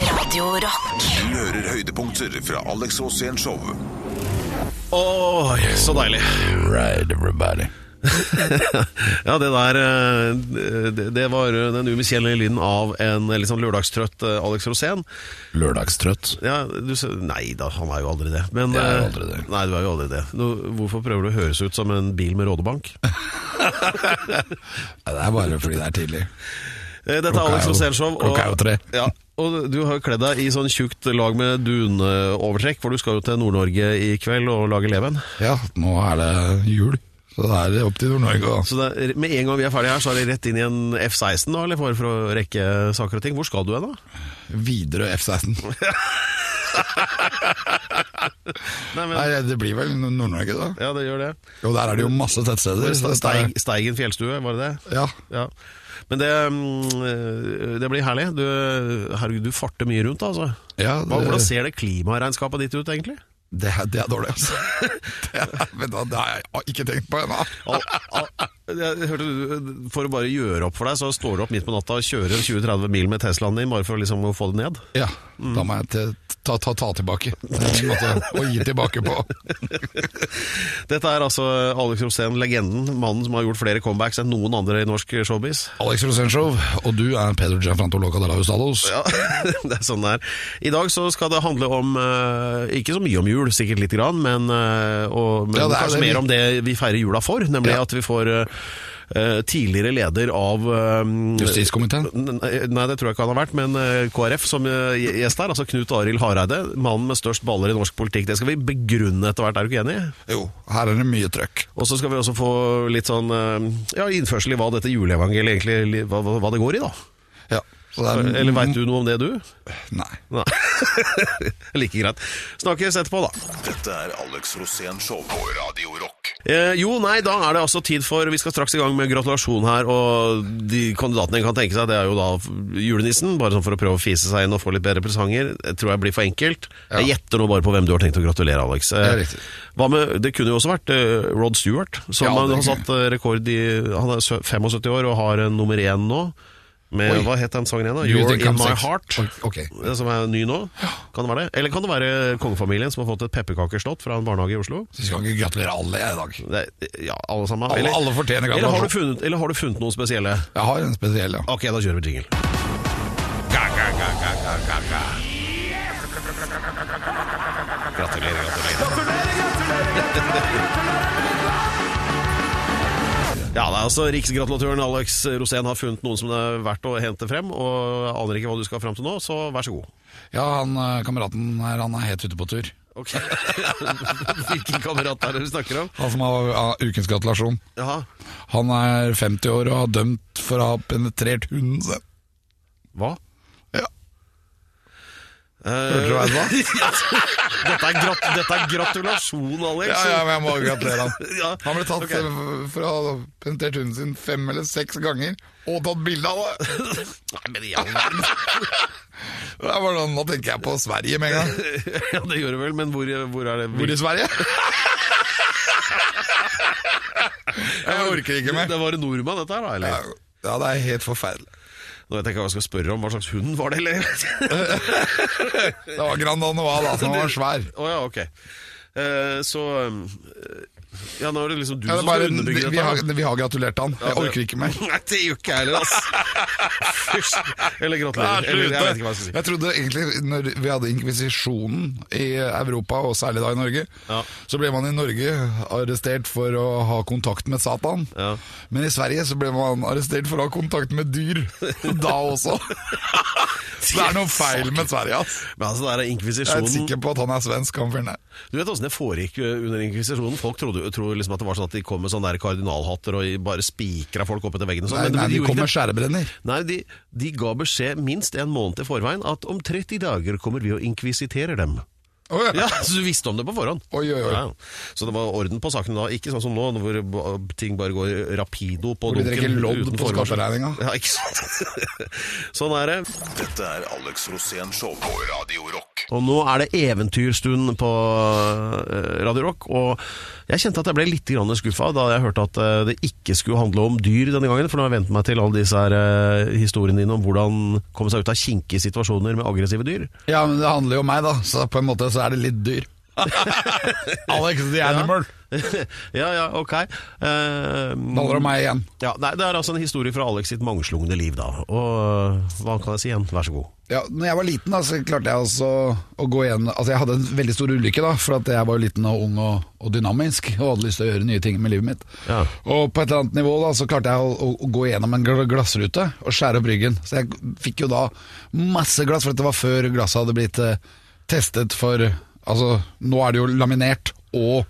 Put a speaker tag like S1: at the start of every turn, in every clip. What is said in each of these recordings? S1: Radio Rock.
S2: Du hører høydepunkter fra Alex Rosén Show.
S3: Åh, så deilig.
S4: Right, everybody.
S3: Ja, det der eh, Det, det var den umiskjennelige lyden av en litt sånn lørdagstrøtt eh, Alex Rosén.
S4: Lørdagstrøtt.
S3: Ja, du, s- nei da, han er jo aldri det. Men,
S4: Jeg er jo
S3: eh,
S4: aldri det.
S3: Nei, du er jo aldri det. Nå, hvorfor prøver du å høres ut som en bil med rådebank?
S4: Ja, det er bare fordi det er tidlig.
S3: Eh, Dette
S4: Klokka
S3: er
S4: er
S3: Alex
S4: jo-
S3: Rosén-show.
S4: klokka er jo tre.
S3: Ja, og du har jo kledd deg i sånn tjukt lag med duneovertrekk, for du skal jo til Nord-Norge i kveld og lage leven.
S4: Ja, nå er det jul, så da er det opp til Nord-Norge. altså. da.
S3: Så det er, med en gang vi er ferdige her, så er det rett inn i en F-16 nå, eller for, for å rekke saker og ting. Hvor skal du hen, da?
S4: Widerøe F-16.
S3: Nei, men,
S4: Nei, det blir vel Nord-Norge, da.
S3: ja, det gjør det.
S4: Jo, der er det jo masse tettsteder. så det er-
S3: Steig, Steigen fjellstue, var det det?
S4: Ja,
S3: Ja. Men det, mm, det blir herlig. Du, herregud, du farter mye rundt, altså.
S4: ja
S3: Hva, hvordan
S4: det,
S3: ser det klimaregnskapet ditt ut, egentlig?
S4: det, er, det er dårlig, altså. Det er, men da, det har jeg ikke tenkt på ennå.
S3: Al- al- Jeg hørte, du- for å bare gjøre opp for deg, så står du opp midt på natta og kjører 20-30 mil med Teslaen din, bare for liksom å få det ned.
S4: Ja, da må jeg til- ta, ta, ta tilbake. Det er en måte å gi tilbake på.
S3: Dette er altså Alex Rosén, legenden, mannen som har gjort flere comebacks enn noen andre i norsk showbiz.
S4: Alex Rosenshov, og du er Pedro Gianfranto Loca de la Hustados.
S3: Ja, det er sånn det er. I dag så skal det handle om eh, Ikke så mye om jul, sikkert lite grann, men, eh, og, men
S4: Ja, det er
S3: kanskje
S4: det vi-
S3: mer om det vi feirer jula for. Nemlig
S4: Ja.
S3: at vi får eh, eh, tidligere leder av eh,
S4: Justiskomiteen.
S3: Nei, nei, det tror jeg ikke han har vært, men eh, KrF som eh, gjest her, altså Knut Arild Hareide, mannen med størst baller i norsk politikk. Det skal vi begrunne etter hvert, er du ikke enig?
S4: Jo, her er det mye trøkk.
S3: Og så skal vi også få litt sånn eh, ja, innførsel i hva dette juleevangeliet egentlig li- hva, hva hva det går i, da.
S4: Ja, så det er, Mm,
S3: Eller veit du noe om det, du?
S4: Nei.
S3: Nei. like greit. Snakkes etterpå, da.
S2: Dette er Alex Rosén Show på Radio Rock.
S3: Eh, jo, nei, da er det altså tid for Vi skal straks i gang med gratulasjon her, og de kandidatene en kan tenke seg, det er jo da julenissen. Bare sånn for å prøve å fise seg inn og få litt bedre presanger. Jeg tror jeg blir for enkelt. Jeg gjetter nå bare på hvem du har tenkt å gratulere, Alex. Eh,
S4: Det er riktig.
S3: hva med, det kunne jo også vært eh, Rod Stewart, som
S4: Ja, det
S3: har
S4: kunne.
S3: satt eh, rekord i Han er sø- 75 år og har en nummer én nå. Med,
S4: Oi.
S3: hva het den sangen igjen? da?
S4: You
S3: You're
S4: Think
S3: In
S4: I'm
S3: My
S4: Sex.
S3: Heart.
S4: Ok.
S3: Det som er ny nå. Kan det være det? Eller kan det være kongefamilien som har fått et pepperkakeslott fra en barnehage i Oslo?
S4: Så skal ikke gratulere alle jeg i dag.
S3: Det, er- ja, alle sammen.
S4: Alle- alle fortjener
S3: eller har,
S4: gratulasjon.
S3: du funnet, eller har du funnet noen spesielle?
S4: Jeg har en spesiell, ja.
S3: Ok, da kjører vi jingle. Gratulerer, gratulerer. Ja, det er altså Riksgratulatøren Alex Rosén har funnet noen som det er verdt å hente frem. Og jeg aner ikke hva du skal fram til nå, så vær så god.
S4: Ja, han eh, kameraten her, han er helt ute på tur.
S3: Ok, Hvilken kamerat er det du snakker om?
S4: Han som har ja, ukens gratulasjon.
S3: Jaha.
S4: Han er 50 år og har dømt for å ha penetrert hunden sin.
S3: Hva?
S4: Ja.
S3: Eh,
S4: Hørte du hva jeg sa?
S3: dette, er grat dette er gratulasjon, Alex.
S4: Ja, ja, men jeg må gratulere han.
S3: Ja,
S4: Han ble tatt
S3: ok.
S4: eh, for å ha penetrert hunden sin fem eller seks ganger, og tatt bilde av det.
S3: Nei, men i all verden.
S4: Det er bare sånn, Nå tenker jeg på Sverige med en gang.
S3: Ja, det gjør det vel, men hvor, hvor er det?
S4: Hvor i Sverige? Jeg orker ikke mer.
S3: Det var en nordmann, dette her, da?
S4: Ja,
S3: eller?
S4: ja, det er helt forferdelig.
S3: Nå vet jeg ikke hva jeg skal spørre om. Hva slags hund var det, eller?
S4: Det var Grand Anoa, da, som var svær.
S3: Å ja, ok. Eh, så eh, Ja, nå er det liksom du
S4: Ja, det er
S3: som
S4: bare,
S3: skal
S4: vi,
S3: underbygge
S4: vi,
S3: dette.
S4: har,
S3: da.
S4: vi har gratulert han. Jeg
S3: det-
S4: orker ikke mer.
S3: Nei, det gjør ikke jeg heller, ass. Fysj. Eller gratulerer. Eller, jeg vet ikke hva jeg skal si.
S4: Jeg trodde egentlig når vi hadde inkvisisjonen i Europa, og særlig da i Norge,
S3: Ja.
S4: så ble man i Norge arrestert for å ha kontakt med Satan.
S3: Ja.
S4: Men i Sverige så ble man arrestert for å ha kontakt med dyr. Da også. Så det er noe feil med Sverige, ass.
S3: Men altså, det er
S4: Jeg er
S3: inkvisisjonen
S4: helt sikker på at han er svensk, han fyren der.
S3: Du vet åssen det foregikk eh, under inkvisisjonen? Folk trodde tror liksom at det var sånn at de kom med sånne der kardinalhatter og bare spikra folk opp etter veggen. og sånn,
S4: Nei,
S3: men det-
S4: nei, de
S3: gjorde
S4: kom
S3: ikke
S4: med skjærebrenner.
S3: det. Nei, de, de ga beskjed minst en måned til forveien at om 30 dager kommer vi og inkvisiterer dem.
S4: Å, ja.
S3: Ja, Så du visste om det på forhånd?
S4: Oi, oi, oi.
S3: Ja. Så det var orden på sakene da. Ikke sånn som nå, hvor ba- ting bare går rapido på
S4: Hvor de drikker lodd
S3: uten
S4: på
S3: forvarsel.
S4: skatteregninga.
S3: Ja, ikke sant? sånn er det.
S2: Dette er Alex Rosén Show på Radio Rock.
S3: Og nå er det eventyrstund på eh, Radio Rock, og jeg kjente at jeg ble litt grann skuffa da jeg hørte at eh, det ikke skulle handle om dyr denne gangen, for nå har jeg vent meg til alle disse her eh, historiene dine om hvordan komme seg ut av kinkige situasjoner med aggressive dyr.
S4: Ja, men det handler jo om meg, da, så på en måte så er det litt dyr. Alex the Animal.
S3: ja, ja, ok. Eh,
S4: Det handler om meg igjen.
S3: ja, nei, det er altså en historie fra Alex sitt mangslungne liv, da. Og eh, hva kan jeg si igjen? Vær så god.
S4: Ja, når jeg var liten da, så klarte jeg også å gå igjen Altså jeg hadde en veldig stor ulykke da For at jeg var liten og ung og, og dynamisk Og hadde lyst til å gjøre nye ting med livet mitt
S3: Ja.
S4: Og på et eller annet nivå da Så klarte jeg å, å, å gå gjennom en gl- glassrute Og skjære opp ryggen Så jeg fikk jo da masse glass For dette var før glasset hadde blitt eh, testet for Altså nå er det jo laminert og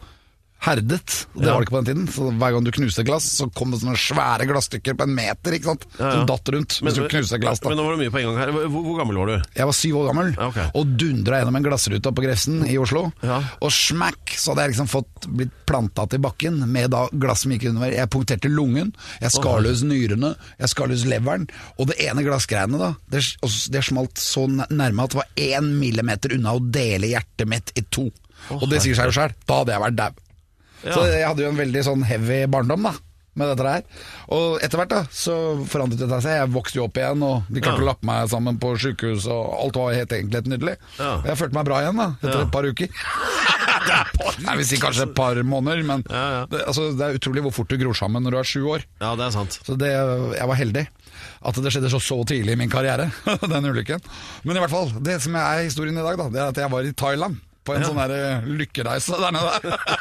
S4: herdet Og det
S3: Ja.
S4: var det ikke på den tiden Så hver gang du knuste glass Så kom det sånne svære glassstykker på en meter Ikke sant?
S3: Ja, ja.
S4: Som datt rundt hvis du knuste glass da
S3: men nå var det mye på en gang her. Hvor, hvor gammel var du?
S4: jeg var syv år gammel
S3: Ja, ok.
S4: og dundra gjennom en glassrute oppe på Grefsen i Oslo.
S3: Ja.
S4: Og smack, så hadde jeg liksom fått blitt planta til bakken med da glass som gikk under. Jeg punkterte lungen, jeg skar løs nyrene, jeg skar løs leveren. Og det ene glassgreiene, da, det, og s- det smalt så n- nærme at det var én millimeter unna å dele hjertet mitt i to. og det sier seg jo sjøl, da hadde jeg vært dau.
S3: Ja.
S4: Så jeg hadde jo en veldig sånn heavy barndom da med dette her. Og etter hvert da, så forandret det seg. Jeg vokste jo opp igjen, og de klarte
S3: Ja.
S4: å lappe meg sammen på sykehus, og alt var helt egentlig helt nydelig.
S3: Ja.
S4: Og Jeg følte meg bra igjen da, etter
S3: Ja.
S4: et par uker. Nei, vi sier kanskje et par måneder, men
S3: Ja, ja.
S4: Det, altså, det er utrolig hvor fort du gror sammen når du er sju år.
S3: Ja, det er sant.
S4: Så det, jeg var heldig at det skjedde så, så tidlig i min karriere, den ulykken. Men i hvert fall, det som er historien i dag, da, det er at jeg var i Thailand. På en sånn her eh, lykkereise der nede.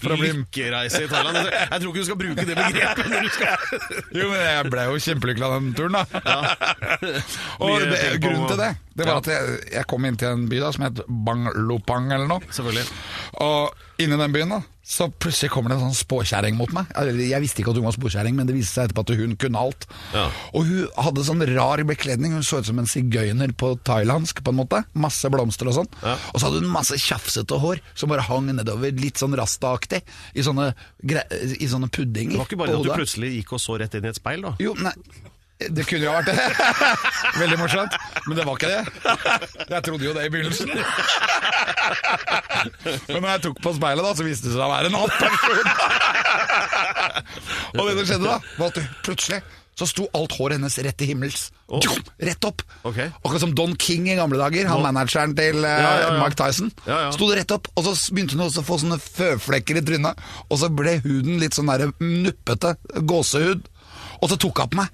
S4: For å bli
S3: Lykkereise i Thailand. Jeg tror- Jeg tror ikke du skal bruke det begrepet når du skal
S4: Jo, men jeg ble jo kjempelykkelig av den turen, da. og
S3: Mye
S4: det,
S3: å tenke på.
S4: grunnen til det, det var
S3: Ja.
S4: at jeg, jeg kom inn til en by da som het Banglopang eller noe.
S3: Selvfølgelig.
S4: Og inni den byen, da, så plutselig kommer det en sånn spåkjerring mot meg. Eller, Jeg visste ikke at hun var spåkjerring, men det viste seg etterpå at hun kunne alt.
S3: Ja.
S4: Og hun hadde sånn rar bekledning, hun så ut som en sigøyner på thailandsk, på en måte. Masse blomster og sånn.
S3: Ja.
S4: Og så hadde hun masse tjafsete hår som bare hang nedover, litt sånn rastaaktig, i sånne, gre i sånne puddinger.
S3: Det var ikke
S4: på
S3: bare at du
S4: hodet.
S3: plutselig gikk og så rett inn i et speil, da.
S4: Jo, nei det kunne jo ha vært det. Veldig morsomt. Men det var ikke det. Jeg trodde jo det i begynnelsen. Men når jeg tok på speilet, da, så viste det seg å være en annen person. Og det som skjedde da, var at plutselig så sto alt håret hennes rett til himmels.
S3: Å.
S4: Rett opp.
S3: Ok.
S4: Akkurat som Don King i gamle dager, han manageren til eh,
S3: Ja, ja, ja.
S4: Mike Tyson.
S3: Ja, ja.
S4: Sto det rett opp, og så begynte hun også å få sånne føflekker i trynet. Og så ble huden litt sånn der nuppete gåsehud. Og så tok hun på meg.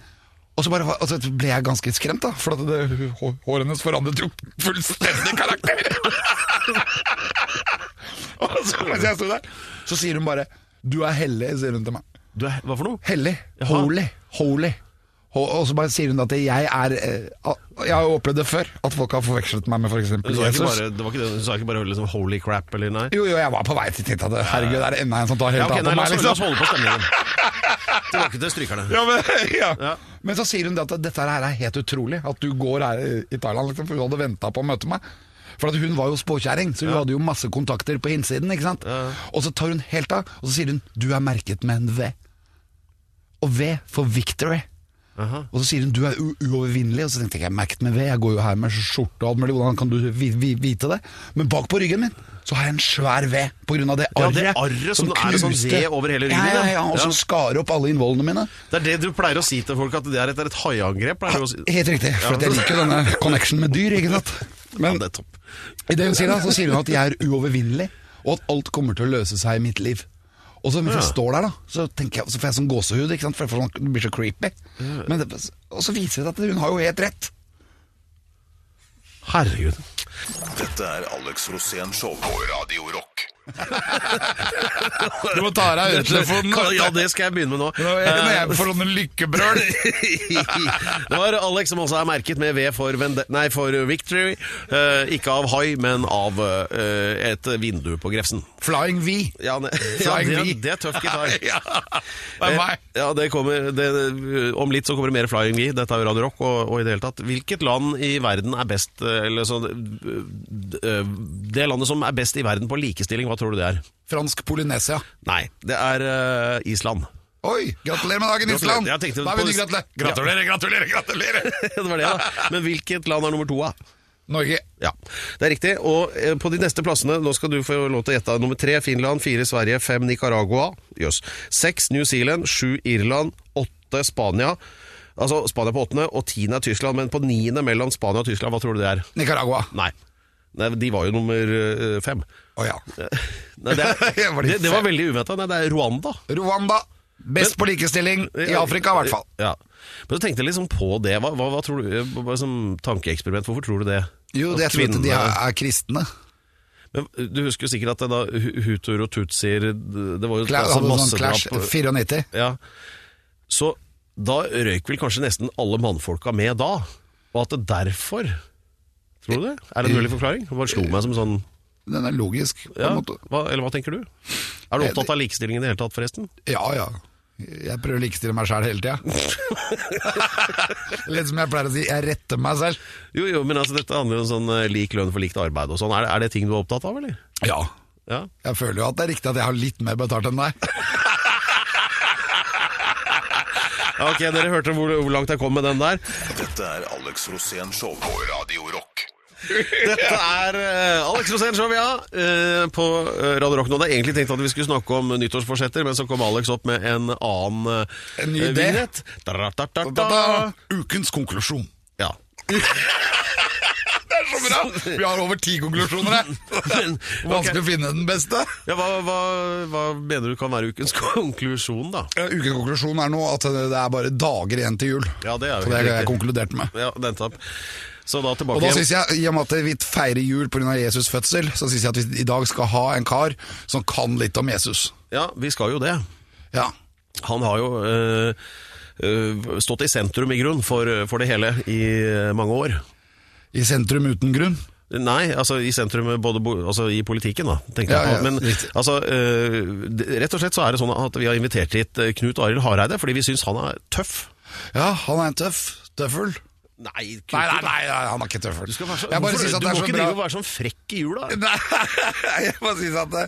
S4: Og så, bare, og så ble jeg ganske skremt, da. For at det, hå- håret hennes forandret jo fullstendig karakter. og så mens jeg sto der, så sier hun bare 'Du er hellig', sier hun til meg.
S3: Du, er- hva for noe?
S4: Hellig.
S3: Jaha.
S4: Holy. Holy. Og og så bare sier hun at jeg er eh, al- Jeg har jo opplevd det før, at folk har forvekslet meg med f.eks.
S3: Du sa ikke
S4: Jesus.
S3: bare, det var ikke det, du sa ikke bare liksom, 'holy crap' eller nei?
S4: Jo, jo, jeg var på vei til titt at herregud, er det enda en som tar helt
S3: Ja, ok,
S4: av
S3: nei,
S4: på
S3: la,
S4: meg,
S3: oss, la oss
S4: liksom.
S3: holde på stemningen. Tilbake til strykerne.
S4: Ja, men, ja.
S3: Ja.
S4: men så sier hun det at dette her er helt utrolig, at du går her i- i Thailand, liksom, for hun hadde venta på å møte meg. For at hun var jo spåkjerring, så hun hadde jo masse kontakter på innsiden. ikke sant? Og så tar hun helt av, og så sier hun 'du er merket med en V'. Og V for victory.
S3: Aha.
S4: Og så sier hun du er u- uovervinnelig, og så tenkte jeg jeg merket meg ved, jeg går jo her med skjorte og alt mulig, hvordan kan du vi vi vite det? Men bak på ryggen min så har jeg en svær ved på grunn av det
S3: Ja,
S4: arret.
S3: det arret som er en sånn
S4: knuste-
S3: ved over hele ryggen
S4: Ja, ja,
S3: din,
S4: ja,
S3: ja.
S4: og som
S3: Ja.
S4: skar opp alle innvollene mine.
S3: Det er det du pleier å si til folk, at det er et, det er et haiangrep. pleier du å si.
S4: Helt riktig, for at jeg liker jo denne connection med dyr, ikke sant?
S3: Ja,
S4: Men
S3: det er topp.
S4: i det hun sier da, så sier hun at jeg er uovervinnelig, og at alt kommer til å løse seg i mitt liv. Og så mens jeg
S3: Ja.
S4: står der, da, så, tenker jeg, så får jeg sånn gåsehud, ikke sant? for jeg får sånn, det blir så creepy. Men det, og så viser det seg at hun har jo helt rett.
S3: Herregud.
S2: Dette er Alex Rosén Show på Radio Rock.
S4: Du må ta av deg øretelefonen.
S3: Kan- Ja, det skal jeg begynne med nå. Eh,
S4: Når jeg, når jeg får sånne lykkebrøl
S3: det var Alex som også er merket med V for, vende, nei, for Victory. Eh, ikke av hai, men av eh, et vindu på Grefsen.
S4: Flying V
S3: Ja, ne, ja
S4: Flying
S3: det,
S4: V.
S3: det er tøff gitar.
S4: Ja, det er
S3: Eh,
S4: meg
S3: Ja, det kommer, det, om litt så kommer det mer Flying V. Dette er jo Radio Rock. Og, og i det hele tatt, hvilket land i verden er best eh, eller så, eh, Det landet som er best i verden på likestilling, hva tror du det er?
S4: Fransk Polynesia
S3: Nei, det er eh, Island.
S4: Oi, gratulerer med dagen
S3: Gratulerer.
S4: Island
S3: Jeg tenkte
S4: Da
S3: på-
S4: vil du gratulere Gratulerer, gratulerer, gratulerer
S3: det var det, da. Men hvilket land er nummer to, da?
S4: Norge.
S3: Ja, det er riktig. Og eh, på de neste plassene, nå skal du få lov til å gjette. Nummer tre Finland, fire Sverige, fem Nicaragua, jøss. Seks New Zealand, sju Irland, åtte Spania. Altså Spania på åttende, og tiende er Tyskland. Men på niende mellom Spania og Tyskland, hva tror du det er?
S4: Nicaragua.
S3: Nei. Nei de var jo nummer eh, fem.
S4: Å ja.
S3: Nei, det, er,
S4: Var de
S3: det, det var
S4: fem?
S3: veldig uventa. Nei, det er Rwanda.
S4: Rwanda. Best på likestilling i Afrika, i hvert fall.
S3: Ja. Men så tenkte jeg liksom på det. Hva, hva, hva tror du, eh, bare som tankeeksperiment, hvorfor tror du det?
S4: Jo,
S3: At
S4: jeg tror at de
S3: kvinnene-
S4: er, er kristne.
S3: Men eh, du husker jo sikkert at det da hu- hutuer og tutsier Det var jo
S4: Kla-
S3: altså
S4: Hadde sånn
S3: massedrap.
S4: clash 94.
S3: Ja. Så da røyk vel kanskje nesten alle mannfolka med da, og at det derfor Tror du det? Er det en mulig forklaring? Det bare slo meg som sånn
S4: Den er logisk, på
S3: ja,
S4: en måte.
S3: hva, Eller hva tenker du? Er du opptatt av likestilling i det hele tatt, forresten?
S4: Ja ja. Jeg prøver å likestille meg sjæl hele tida. Litt som jeg pleier å si, jeg retter meg selv.
S3: Jo, jo, men altså dette handler jo om sånn eh, lik lønn for likt arbeid og sånn. Er, det- er det ting du er opptatt av, eller?
S4: Ja.
S3: Ja.
S4: Jeg føler jo at det er riktig at jeg har litt mer betalt enn deg.
S3: Ja, Ok, dere hørte hvor, hvor langt jeg kom med den der.
S2: Dette er Alex Rosén Show på Radio Rock.
S3: Dette er eh, Alex Rosén Show, ja, eh, på eh, Radio Rock nå. Det er egentlig tenkt at vi skulle snakke om nyttårsforsetter, men så kom Alex opp med en annen eh,
S4: En ny idé.
S3: vignett. Da-da-da-da-da.
S4: Ukens konklusjon.
S3: Ja.
S4: Det er så bra! Vi har over ti konklusjoner her.
S3: Men,
S4: Vanskelig
S3: ok.
S4: å finne den beste.
S3: ja, hva, hva, hva mener du kan være ukens konklusjon, da?
S4: Ja, Ukens konklusjon er nå at det er bare dager igjen til jul.
S3: Ja, det er jo
S4: Så det er
S3: helt
S4: det jeg
S3: riktig.
S4: konkluderte med.
S3: Ja, den tapp. Så da tilbake
S4: Og da
S3: igjen.
S4: synes jeg, I og med at vi feirer jul pga. Jesus' fødsel, så syns jeg at vi i dag skal ha en kar som kan litt om Jesus.
S3: Ja, vi skal jo det.
S4: Ja,
S3: Han har jo eh, eh, stått i sentrum, i grunn, for, for det hele i eh, mange år.
S4: I sentrum uten grunn.
S3: Nei, altså i sentrum, både bo- altså, i politikken da, tenkte
S4: Ja,
S3: jeg på.
S4: ja,
S3: Men
S4: riktig.
S3: altså, øh, det- rett og slett så er det sånn at vi har invitert hit øh, Knut Arild Hareide, fordi vi syns han er tøff.
S4: Ja, han er en tøff tøffel.
S3: Nei, Knut,
S4: Nei, nei, nei, nei han er ikke tøffel.
S3: Du, skal være
S4: jeg
S3: så,
S4: bare
S3: hvorfor-
S4: synes at det
S3: du må
S4: er så
S3: ikke
S4: bra.
S3: drive og være sånn frekk i jula.
S4: Nei, jeg bare synes at det,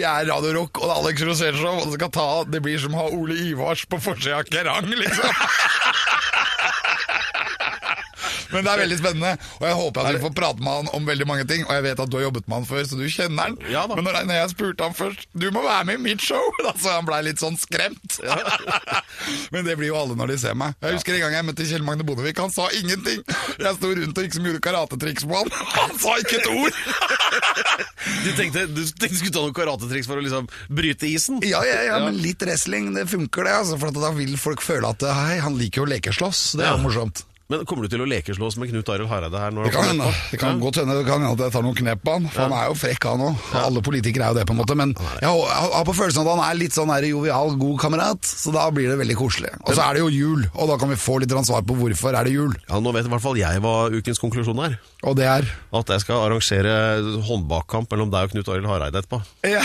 S4: vi er Radio Rock, og det er Alex Rosénshow, og det, skal ta, det blir som å ha Ole Ivars på forsida av Kerrang, liksom. Men det er veldig spennende, og jeg håper at vi får prate med han om veldig mange ting. Og jeg vet at du har jobbet med han før, så du kjenner han.
S3: Ja da.
S4: Men når jeg- når jeg spurte han først Du må være med i mitt show! Da, så han blei litt sånn skremt. Men det blir jo alle når de ser meg. Jeg husker en gang jeg møtte Kjell Magne Bondevik. Han sa ingenting! Jeg sto rundt og liksom gjorde karatetriks på han. Han sa ikke et ord!
S3: Du tenkte du tenkte du skulle ta noen karatetriks for å liksom bryte isen?
S4: Ja, ja, ja, men litt wrestling, det funker det, altså, for at da vil folk føle at hei, han liker jo å lekeslåss, det er
S3: Ja.
S4: jo morsomt.
S3: Men kommer du til å lekeslås med Knut Arild Hareide her?
S4: Det
S3: Når han
S4: kan
S3: kommer
S4: hende,
S3: etterpå?
S4: det kan godt hende, det kan hende at jeg tar noen knep på han, for han er jo frekk han òg. Alle politikere er jo det, på en måte, men jeg har- jeg har på følelsen at han er litt sånn der jovial, god kamerat, så da blir det veldig koselig. Og så er det jo jul, og da kan vi få litt grann svar på hvorfor er det jul,
S3: Ja, nå vet i hvert fall jeg hva ukens konklusjon er.
S4: og det er
S3: At jeg skal arrangere håndbakkamp mellom deg og Knut Arild Hareide etterpå.
S4: Ja,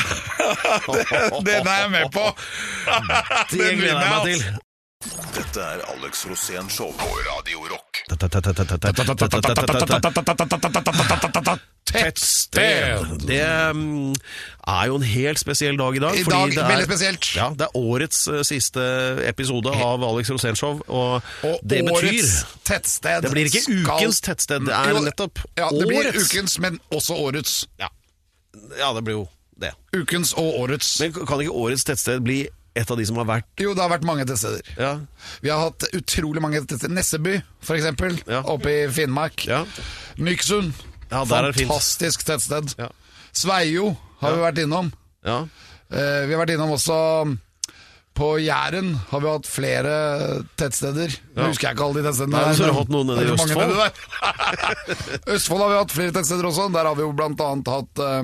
S4: den er jeg med på!
S3: Det gleder jeg meg til.
S2: Dette er Alex Rosén Show på Radio Rock.
S4: Tettsted!
S3: Det mm, er jo en helt spesiell dag i dag.
S4: I
S3: fordi
S4: dag,
S3: det er-
S4: veldig spesielt.
S3: Ja, det er årets eh, siste episode av Alex Rosénshow, og,
S4: Og
S3: det betyr
S4: årets tettsted
S3: Det blir ikke
S4: skal-
S3: ukens tettsted, det er
S4: Jo,
S3: nettopp
S4: ja, det blir
S3: årets.
S4: ukens, men også årets.
S3: Ja. ja, det blir jo det.
S4: Ukens og årets.
S3: Men kan ikke årets tettsted bli et av de som har vært
S4: jo, det har vært mange tettsteder.
S3: Ja,
S4: Vi har hatt utrolig mange tettsteder. Nesseby, for eksempel,
S3: Ja.
S4: oppe i Finnmark.
S3: Ja.
S4: Nyksund.
S3: Ja, der er det fint.
S4: Fantastisk tettsted.
S3: Ja.
S4: Sveio har vi vært innom.
S3: ja.
S4: Eh, vi har vært innom også på Jæren har vi hatt flere tettsteder. Nå husker jeg ikke alle de tettstedene.
S3: Nei,
S4: der,
S3: så har du
S4: men
S3: hatt noen nede
S4: det er
S3: i
S4: mange nede der. Østfold har vi hatt flere tettsteder også. Der har vi jo blant annet hatt eh,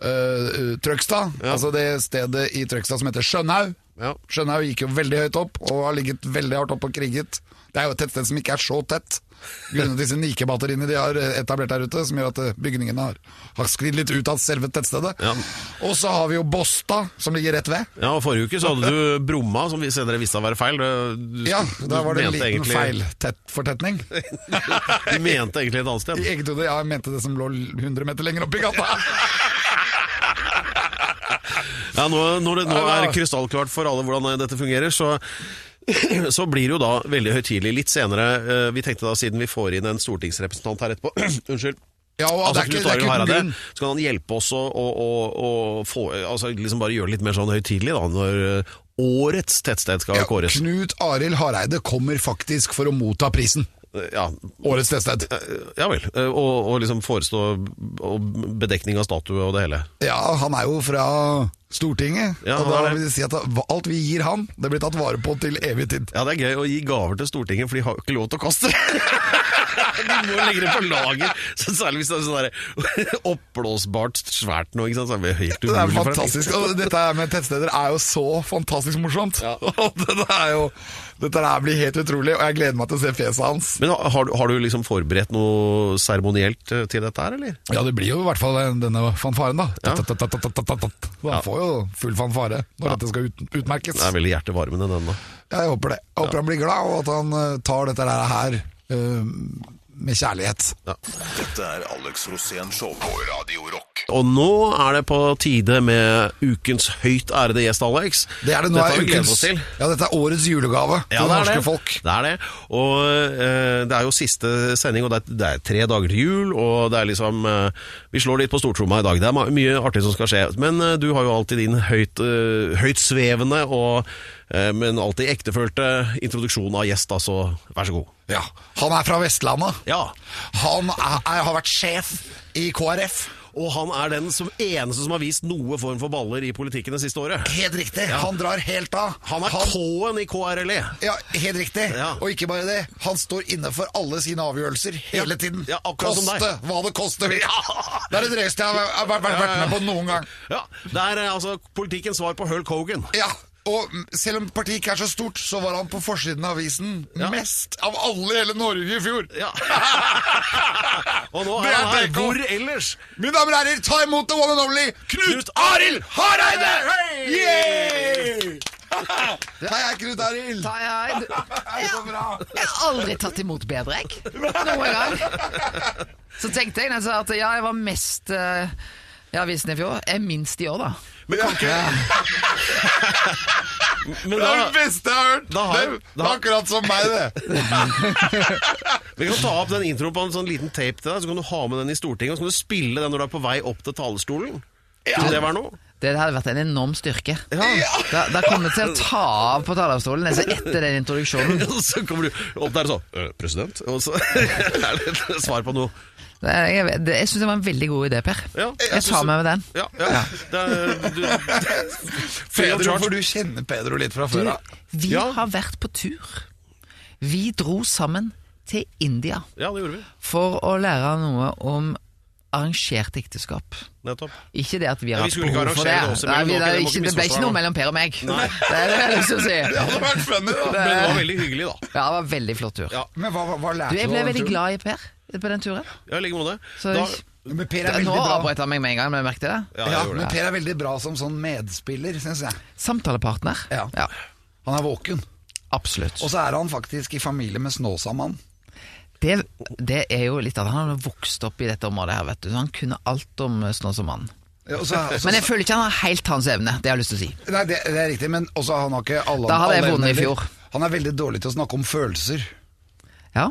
S4: eh, Trøgstad. Altså det stedet i Trøgstad som heter Skjønhaug.
S3: Ja.
S4: Skjønhaug gikk jo veldig høyt opp, og har ligget veldig hardt opp og kriget. Det er jo et tettsted som ikke er så tett, grunnet disse nikebatteriene de har eh, etablert der ute, som gjør at eh, bygningene har, har sklidd litt ut av selve tettstedet.
S3: Ja.
S4: Og så har vi jo Bosta, som ligger rett ved.
S3: ja, og Forrige uke så hadde du Bromma, som vi senere visste å være feil. Du,
S4: Ja, der var det en
S3: mente
S4: liten
S3: egentlig-
S4: feil tett fortetning.
S3: Du mente egentlig et annet
S4: I
S3: sted.
S4: eget hode, ja, jeg mente det som lå 100 meter lenger opp i gata.
S3: Ja, nå, når det nå er krystallklart for alle hvordan dette eh, fungerer, så så blir det jo da veldig høytidelig litt senere. eh, Vi tenkte da, siden vi får inn en stortingsrepresentant her etterpå Unnskyld.
S4: Ja, og det er
S3: Aslak
S4: ikke-
S3: Altså,
S4: det
S3: Knut
S4: er ikke
S3: Arild
S4: uten
S3: Hareide,
S4: grunn.
S3: så kan han hjelpe oss å, å, å, å få, altså liksom bare gjøre det litt mer sånn høytidelig da, når eh, årets tettsted skal
S4: Ja,
S3: kåres.
S4: Knut Arild Hareide kommer faktisk for å motta prisen.
S3: Ja,
S4: Årets tettsted.
S3: ja vel. Eh, Og, og liksom forestå og bedekning av statue og det hele.
S4: Ja, han er jo fra Stortinget,
S3: Ja,
S4: og
S3: han
S4: da
S3: er det.
S4: vil det si at alt vi gir han, det blir tatt vare på til evig tid.
S3: Ja, det er gøy å gi gaver til Stortinget, for de har jo ikke lov til å kaste det. De må jo legge det på lager, så særlig hvis det er sånn der oppblåsbart svært noe. Ikke sant? Så er det helt
S4: Det er
S3: umulig for dem.
S4: fantastisk, Altså, og dette her med tettsteder er jo så fantastisk morsomt. Og dette, er jo, dette her blir helt utrolig, og jeg gleder meg til å se fjeset hans.
S3: Men har, har du- har du liksom forberedt noe seremonielt eh, til dette her, eller?
S4: Ja, det blir jo i hvert fall denne fanfaren da. Han får jo full fanfare når dette skal ut, utmerkes.
S3: Den er veldig hjertevarmende, den da.
S4: Ja, jeg håper det. Jeg håper han blir glad, og at han eh, tar dette her eh, med kjærlighet.
S2: Dette er Alex Rosén Show på Radio Rock.
S3: Og nå er det på tide med ukens høyt ærede gjest, Alex.
S4: Det er det nå
S3: Dette har
S4: er
S3: vi gledet
S4: ukens,
S3: oss til.
S4: ja, dette er årets julegave til det norske folk.
S3: Det er det. Og eh, det er jo siste sending, og det er, det er tre dager til jul, og det er liksom eh, Vi slår litt på stortromma i dag. Det er ma- mye artig som skal skje. Men eh, du har jo alltid din høyt, eh, høytsvevende og eh, men alltid ektefølte introduksjon av gjest, da, så vær så god.
S4: Ja. Han er fra Vestlandet.
S3: Ja.
S4: Han er, er, har vært sjef i KrF.
S3: Og han er den som eneste som har vist noe form for baller i politikken det siste året.
S4: Helt riktig. Han drar helt av.
S3: Han er K-en i KRLE.
S4: ja, helt riktig.
S3: Ja.
S4: Og ikke bare det, han står inne for alle sine avgjørelser hele tiden.
S3: Ja, akkurat som
S4: koste
S3: deg.
S4: hva det koste vil. Det er det drøyeste jeg har vært, vært, vært med på noen gang.
S3: Ja, Det er eh, altså politikkens svar på Hulk Hogan.
S4: Ja, og selv om partiet ikke er så stort, så var han på forsiden av avisen mest av alle i hele Norge i fjor.
S3: Ja. og nå
S4: Det
S3: er
S4: er
S3: han her.
S4: BK.
S3: Hvor ellers?
S4: Mine damer og herrer, ta imot the one and only Knut Arild Hareide!
S3: Hei!
S4: Yay! Hei, hei, Knut Arild.
S1: Nei, nei, du-
S4: Hei, så bra.
S1: Jeg har aldri tatt imot bedre, jeg. Noen gang. Så tenkte jeg altså at ja, jeg var mest eh, i avisen i fjor. Jeg er minst i år, da.
S3: Men kan ikke Men
S4: Det er
S3: da,
S4: det beste jeg har hørt.
S3: Da
S4: Det-
S3: har- da
S4: det er
S3: har-
S4: akkurat som meg, det.
S3: vi kan ta opp den introen på en sånn liten tape til deg, så kan du ha med den i Stortinget, og så kan du spille den når du er på vei opp til talerstolen. Kunne det være noe?
S1: Det hadde vært en enorm styrke. Da, da kom det til å ta av på talerstolen altså etter den introduksjonen.
S3: Og så kommer du opp der og sånn «Øh, President? Og så er det et svar på noe.
S1: Det- Jeg, vet- det- jeg syns det var en veldig god idé, Per.
S3: Ja, jeg
S1: Jeg
S3: synes
S1: tar
S3: det-
S1: med meg den.
S3: Ja, ja. Det er, du, free of
S4: Pedro,
S3: charge.
S4: for du kjenner Pedro litt fra før. da.
S1: Vi
S3: Ja.
S1: har vært på tur. Vi dro sammen til India
S3: ja, det gjorde vi.
S1: for å lære noe om arrangert ekteskap.
S3: Nettopp.
S1: Ikke det at vi har
S3: Ja, vi
S1: hatt
S3: skulle ikke
S1: behov for det.
S3: arrangere det også,
S1: Nei,
S3: men
S1: vi,
S3: dere
S1: det, er
S3: må ikke
S1: ikke, det ble
S3: misforstå
S1: ikke noe mellom Per og meg. Det er det jeg har lyst til å si.
S4: Det hadde vært funny, da.
S1: Det-
S3: Men det var veldig hyggelig, da.
S1: Ja, det var en veldig flott tur.
S3: Ja.
S4: Men hva, hva- hva lærte
S1: Du, jeg ble
S4: av den
S1: veldig
S4: turen?
S1: glad i Per på den turen.
S3: Ja, I like måte.
S1: Så-
S3: Da-
S4: Men Per er
S1: Da-
S4: veldig
S1: Nå
S4: bra.
S1: avbrøt han meg med en gang, men merket dere det?
S3: Ja, jeg
S4: Ja,
S3: gjorde det.
S4: men Per er veldig bra som sånn medspiller, syns jeg.
S1: Samtalepartner.
S4: Ja. Han er våken.
S1: absolutt.
S4: Og så er han faktisk i familie med Snåsamannen.
S1: Det, det er jo litt at han har vokst opp i dette området her, vet du. Så han kunne alt om eh, Snåsamannen.
S4: Ja, og så- så-
S1: Men jeg føler ikke han har helt hans evne, det har jeg lyst til å si.
S4: Nei, det, det er riktig, men også han har ikke alle
S1: Da hadde jeg
S4: alle
S1: vunnet i
S4: evner.
S1: fjor.
S4: Han er veldig dårlig til å snakke om følelser.
S1: Ja,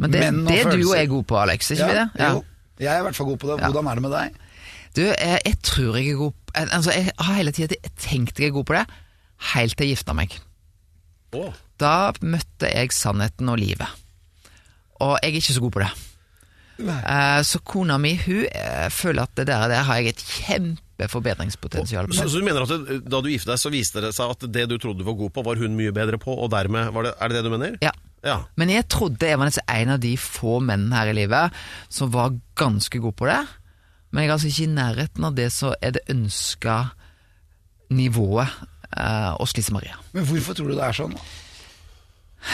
S1: Men det,
S4: Men og
S1: det er du og
S4: følelser.
S1: jeg gode på, Alex. Er ikke vi det? Ja.
S4: Jo, jeg er i hvert fall god på det. Hvordan er det med deg?
S1: Du, jeg, jeg tror jeg er god på- al- Altså, jeg har hele tida tenkt jeg er god på det, helt til jeg gifta meg.
S3: Å.
S1: Da møtte jeg sannheten og livet. Og jeg er ikke så god på det. Eh, Så kona mi hun eh, føler at det der, der har jeg et kjempeforbedringspotensial på.
S3: Så, så du mener at det, da du giftet deg, så viste det seg at det du trodde du var god på, var hun mye bedre på, og dermed var det Er det det du mener?
S1: Ja.
S3: Ja.
S1: Men jeg trodde jeg var nesten en av de få mennene her i livet som var ganske god på det. Men jeg er altså ikke i nærheten av det som er det ønska nivået eh, hos Lise Maria.
S4: Men hvorfor tror du det er sånn?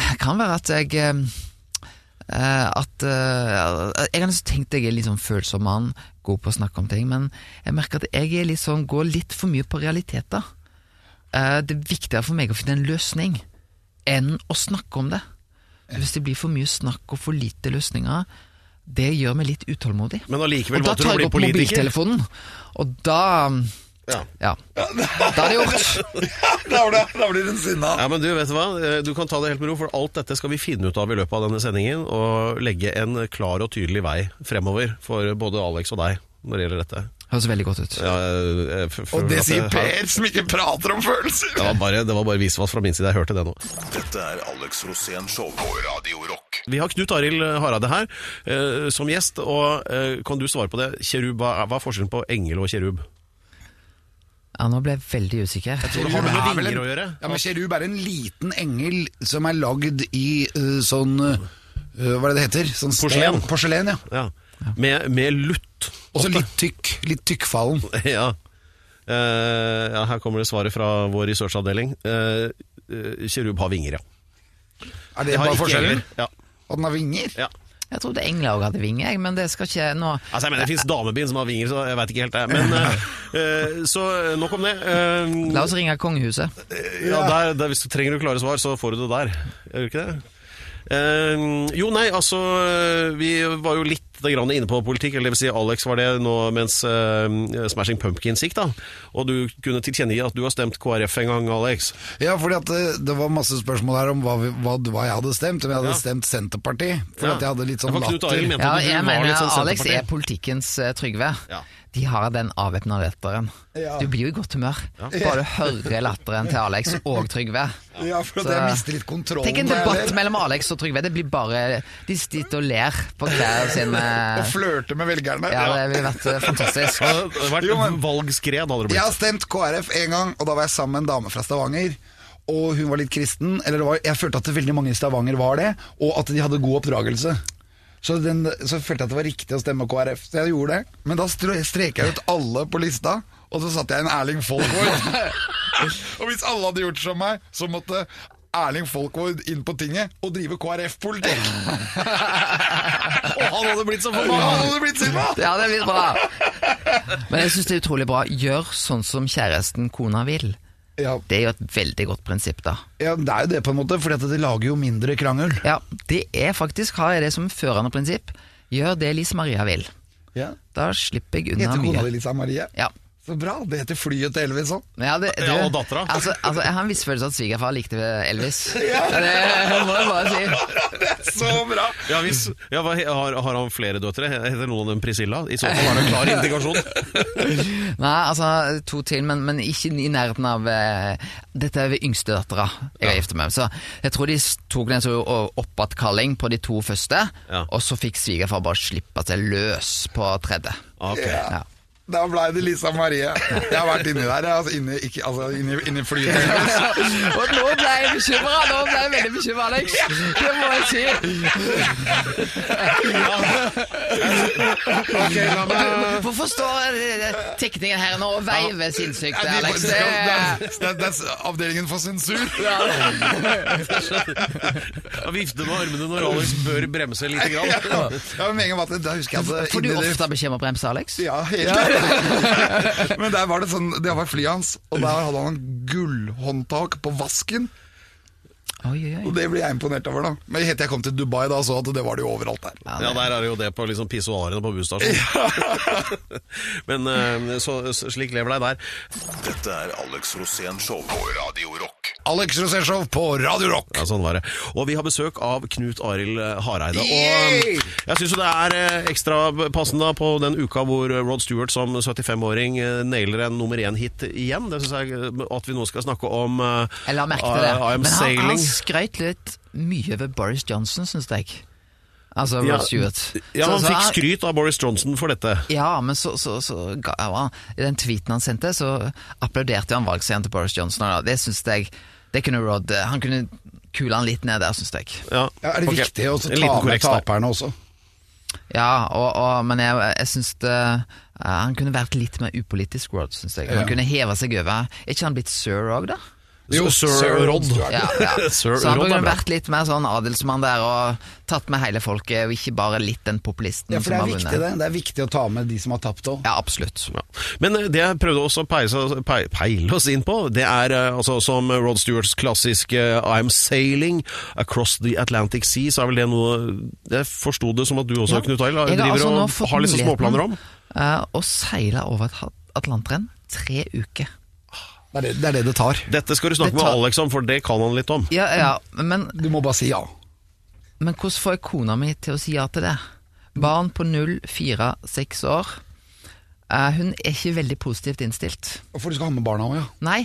S1: Det kan være at jeg eh, eh, At eh, Jeg har nesten tenkt jeg er litt sånn følsom mann, god på å snakke om ting, men jeg merker at jeg er litt sånn, går litt for mye på realiteter. Eh, det er viktigere for meg å finne en løsning enn å snakke om det. Hvis det blir for mye snakk og for lite løsninger, det gjør meg litt utålmodig.
S3: Men allikevel
S1: Og da
S3: valgte du å
S1: tar
S3: bli
S1: jeg opp
S3: politiker.
S1: mobiltelefonen, og da
S3: Ja.
S1: Ja. Det er det gjort.
S4: da, blir, da blir hun sinna.
S3: Ja, men Du vet du hva, Eh, du kan ta det helt med ro, for alt dette skal vi finne ut av i løpet av denne sendingen, og legge en klar og tydelig vei fremover for både Alex og deg når det gjelder dette.
S1: Høres veldig godt ut.
S3: Ja, eh, f- f-
S4: Og det
S3: at
S4: sier
S3: jeg-
S4: Per, som ikke prater om følelser!
S3: Det var bare, det var bare visvas fra min side, jeg hørte det nå.
S2: Dette er Alex Rosén Show på Radio Rock.
S3: Vi har Knut Arild Hareide her eh, som gjest, og eh, kan du svare på det? Kjerub, hva er, hva er forskjellen på engel og kjerub?
S1: Ja, nå ble jeg veldig usikker.
S3: Har det med
S4: Er vel
S3: vinger
S4: en-
S3: å gjøre?
S4: Ja, men Kjerub er en liten engel som er lagd i eh, sånn eh, Hva er det det heter? Sånn sten-
S3: Porselen.
S4: Porselen, ja.
S3: Ja. Med, med lutt.
S4: Og så litt tykk. Litt tykkfallen.
S3: ja. Eh, ja, her kommer det svaret fra vår researchavdeling. Eh, eh, kjerub har vinger, ja.
S4: Er det
S3: Jeg har
S4: bare
S3: ikke
S4: forskjellen?
S3: engler. Ja.
S4: At den har vinger?
S3: Ja.
S1: Jeg trodde engler òg hadde vinger, jeg, men det skal ikke jeg nå
S3: Altså, jeg mener, Det fins damebind som har vinger, så jeg veit ikke helt det. Men, eh, eh, så eh, nok om det. Eh,
S1: La oss ringe kongehuset.
S3: ja, der, der, hvis du trenger klare svar, så får du det der. Gjør du ikke det? Eh, jo, nei, altså Vi var jo litt grann inne på politikk, eller det vil si Alex var det nå mens eh, Smashing Pumpkins gikk, da. Og du kunne tilkjennegi at du har stemt KrF en gang, Alex.
S4: Ja, fordi at det, det var masse spørsmål her om hva, vi, hva, hva jeg hadde stemt. Om jeg hadde stemt Senterpartiet. For
S3: Ja.
S4: at jeg hadde litt sånn
S3: Ja, for Knut
S4: latter.
S3: Arild mente
S1: Ja,
S3: at du
S1: jeg
S3: var
S1: mener
S3: litt sånn
S1: Alex
S3: Senterparti.
S1: er politikkens eh, Trygve.
S3: Ja.
S1: De har den avvæpna latteren.
S4: Ja.
S1: Du blir jo i godt humør bare du hører latteren til Alex og Trygve.
S4: Ja, for at
S1: Så-
S4: jeg mister litt kontrollen.
S1: Tenk en
S4: når jeg
S1: debatt
S4: ler.
S1: mellom Alex og Trygve. Det blir bare De sitter og ler på hver sin
S4: Og
S1: eh,
S4: flørte med velgerne.
S1: Ja, det ville vært eh, fantastisk.
S3: Ja, Det hadde vært
S4: Jo, men-
S3: valgskred, hadde det
S4: Jeg
S3: blitt.
S4: har stemt KrF en gang, og da var jeg sammen med en dame fra Stavanger. Og hun var litt kristen. Eller det var, jeg følte at veldig mange i Stavanger var det, og at de hadde god oppdragelse. Så, den, så følte jeg at det var riktig å stemme KrF, så jeg gjorde det. Men da stre- streka jeg ut alle på lista, og så satte jeg inn Erling Folkvord. og hvis alle hadde gjort som meg, så måtte Erling Folkvord inn på tinget og drive KrF-politikk.
S3: Å, han hadde blitt så
S4: Hva
S3: forbanna!
S4: hadde det blitt, Simba?
S1: Ja, det blir bra. Men jeg syns det er utrolig bra. Gjør sånn som kjæresten, kona, vil.
S4: Ja,
S1: Det er jo et veldig godt prinsipp, da.
S4: ja, det er jo det, på en måte, Fordi at det lager jo mindre krangel.
S1: Ja, det er faktisk, har jeg det som førende prinsipp, gjør det Lise Maria vil.
S4: Ja.
S1: Da slipper jeg unna
S4: Heter kona
S1: mye.
S4: di Lisa Marie?
S1: Ja.
S4: Så bra, det heter flyet til Elvis òg.
S1: Men jeg hadde-
S3: Ja,
S1: du-
S3: og dattera.
S1: Altså, altså, jeg har en viss følelse av at svigerfar likte Elvis. Det må jeg bare si.
S4: Så bra!
S3: Ja, hvis, ja, hva, har, har han flere døtre? Heter noen av dem Priscilla? I så fall er det en klar indikasjon.
S1: Nei, altså, to til, men, men ikke i nærheten av eh, Dette er ved yngstedattera jeg har gifta meg med. Så jeg tror de s- tok en sånn o- oppadkalling på de to første,
S3: Ja.
S1: og så fikk svigerfar bare slippe seg løs på tredje.
S3: Ah, Ok.
S1: Ja.
S4: Da blei det Lisa Marie. Jeg har vært inni der, jeg, altså inni, ikke, altså, inni, inni flyet til Elvis.
S1: Og nå ble jeg bekymra! Nå ble jeg veldig bekymra, Alex. Det må jeg si. Du- Hvorfor står eh, tekningen her nå og veiver sinnssykt,
S4: Ja, de-
S1: Alex?
S4: det,
S1: Det
S4: er- det, er- det er avdelingen for sensur.
S3: Ja, Vifte med armene når Alex bør bremse lite grann.
S4: Ja, men med en gang var det- Da husker jeg at
S1: Får du
S4: inni det-
S1: ofte beskjed om å bremse, Alex?
S4: Ja, helt Men der var det sånn Det var flyet hans, og der hadde han gullhåndtak på vasken.
S1: Oi, oi, oi.
S4: Og det ble jeg imponert over, da. Men helt til jeg kom til Dubai, da så at det var det jo overalt der.
S3: Ja, der er det jo det på liksom pissoarene på busstasjonen. Men eh, så, så- slik lever deg der.
S2: Dette er Alex Rosén Show på Radio Rock.
S4: Alex Roseshow på Radio Rock.
S3: Ja, sånn var det. Og vi har besøk av Knut Arild eh, Hareide. Og
S4: Yay!
S3: eh, jeg syns jo det er eh, ekstra passende da på den uka hvor eh, Rod Stewart som 75-åring eh, nailer en nummer én-hit igjen. Det synes jeg eh, At vi nå skal snakke om eh,
S1: Jeg la merke
S3: I-
S1: til det.
S3: I Am
S1: Men han, altså han
S3: Sailing.
S1: skrøt litt mye over Boris Johnson, syns jeg. Altså
S3: Ja,
S1: Rod Stewart.
S3: Ja,
S1: Så-
S3: Han
S1: så
S3: fikk skryt av Boris Johnson for dette.
S1: Ja, men så, så, så ga han I den tweeten han sendte, så applauderte han valgseieren til Boris Johnson. og Det syns jeg Det kunne Rod eh, Han kunne kule han litt ned der, syns jeg.
S3: Ja,
S4: Ja, er det
S3: ok.
S4: viktig å også
S3: En
S4: ta
S3: liten
S4: med
S3: korreks der.
S4: taperne også?
S1: Ja, og, og, men jeg, jeg syns det eh, Han kunne vært litt mer upolitisk, Rod, syns jeg. Han
S4: Ja.
S1: kunne heva seg over. Er ikke han blitt sir òg, da?
S3: Jo, Sir, Rod.
S1: Ja, ja.
S3: Sir
S1: så han
S3: Rod er
S1: burde
S3: bra.
S1: vært litt mer sånn adelsmann der og tatt med hele folket, og ikke bare litt den populisten
S4: Ja, for
S1: som
S4: det er
S1: har
S4: viktig
S1: vunnet.
S4: det. Det er viktig å ta med de som har tapt òg.
S1: Ja, absolutt.
S3: Ja. Men eh, det jeg prøvde også å peise, pei- peile oss inn på, det er eh, altså som Rod Stewarts klassiske eh, I'm sailing across the Atlantic Sea, så er vel det noe Jeg forsto det som at du også, Knut Arild,
S1: Jeg
S3: driver
S1: altså nå
S3: og
S1: fått
S3: har litt sånn
S1: muligheten,
S3: småplaner om?
S1: eh, Å seile over et ha- Atlanteren. tre uker.
S4: Det er det det, er det, det tar.
S3: Dette skal du snakke
S1: Det
S3: med
S1: tar-
S3: Alex om, for det kan han litt om.
S1: Ja, ja, men,
S4: Du må bare si ja.
S1: men hvordan får jeg kona mi til å si ja til det? Barn på 0, 4, 6 år. Eh, Hun er ikke veldig positivt innstilt.
S4: For du skal ha med barna òg, ja.
S1: Nei.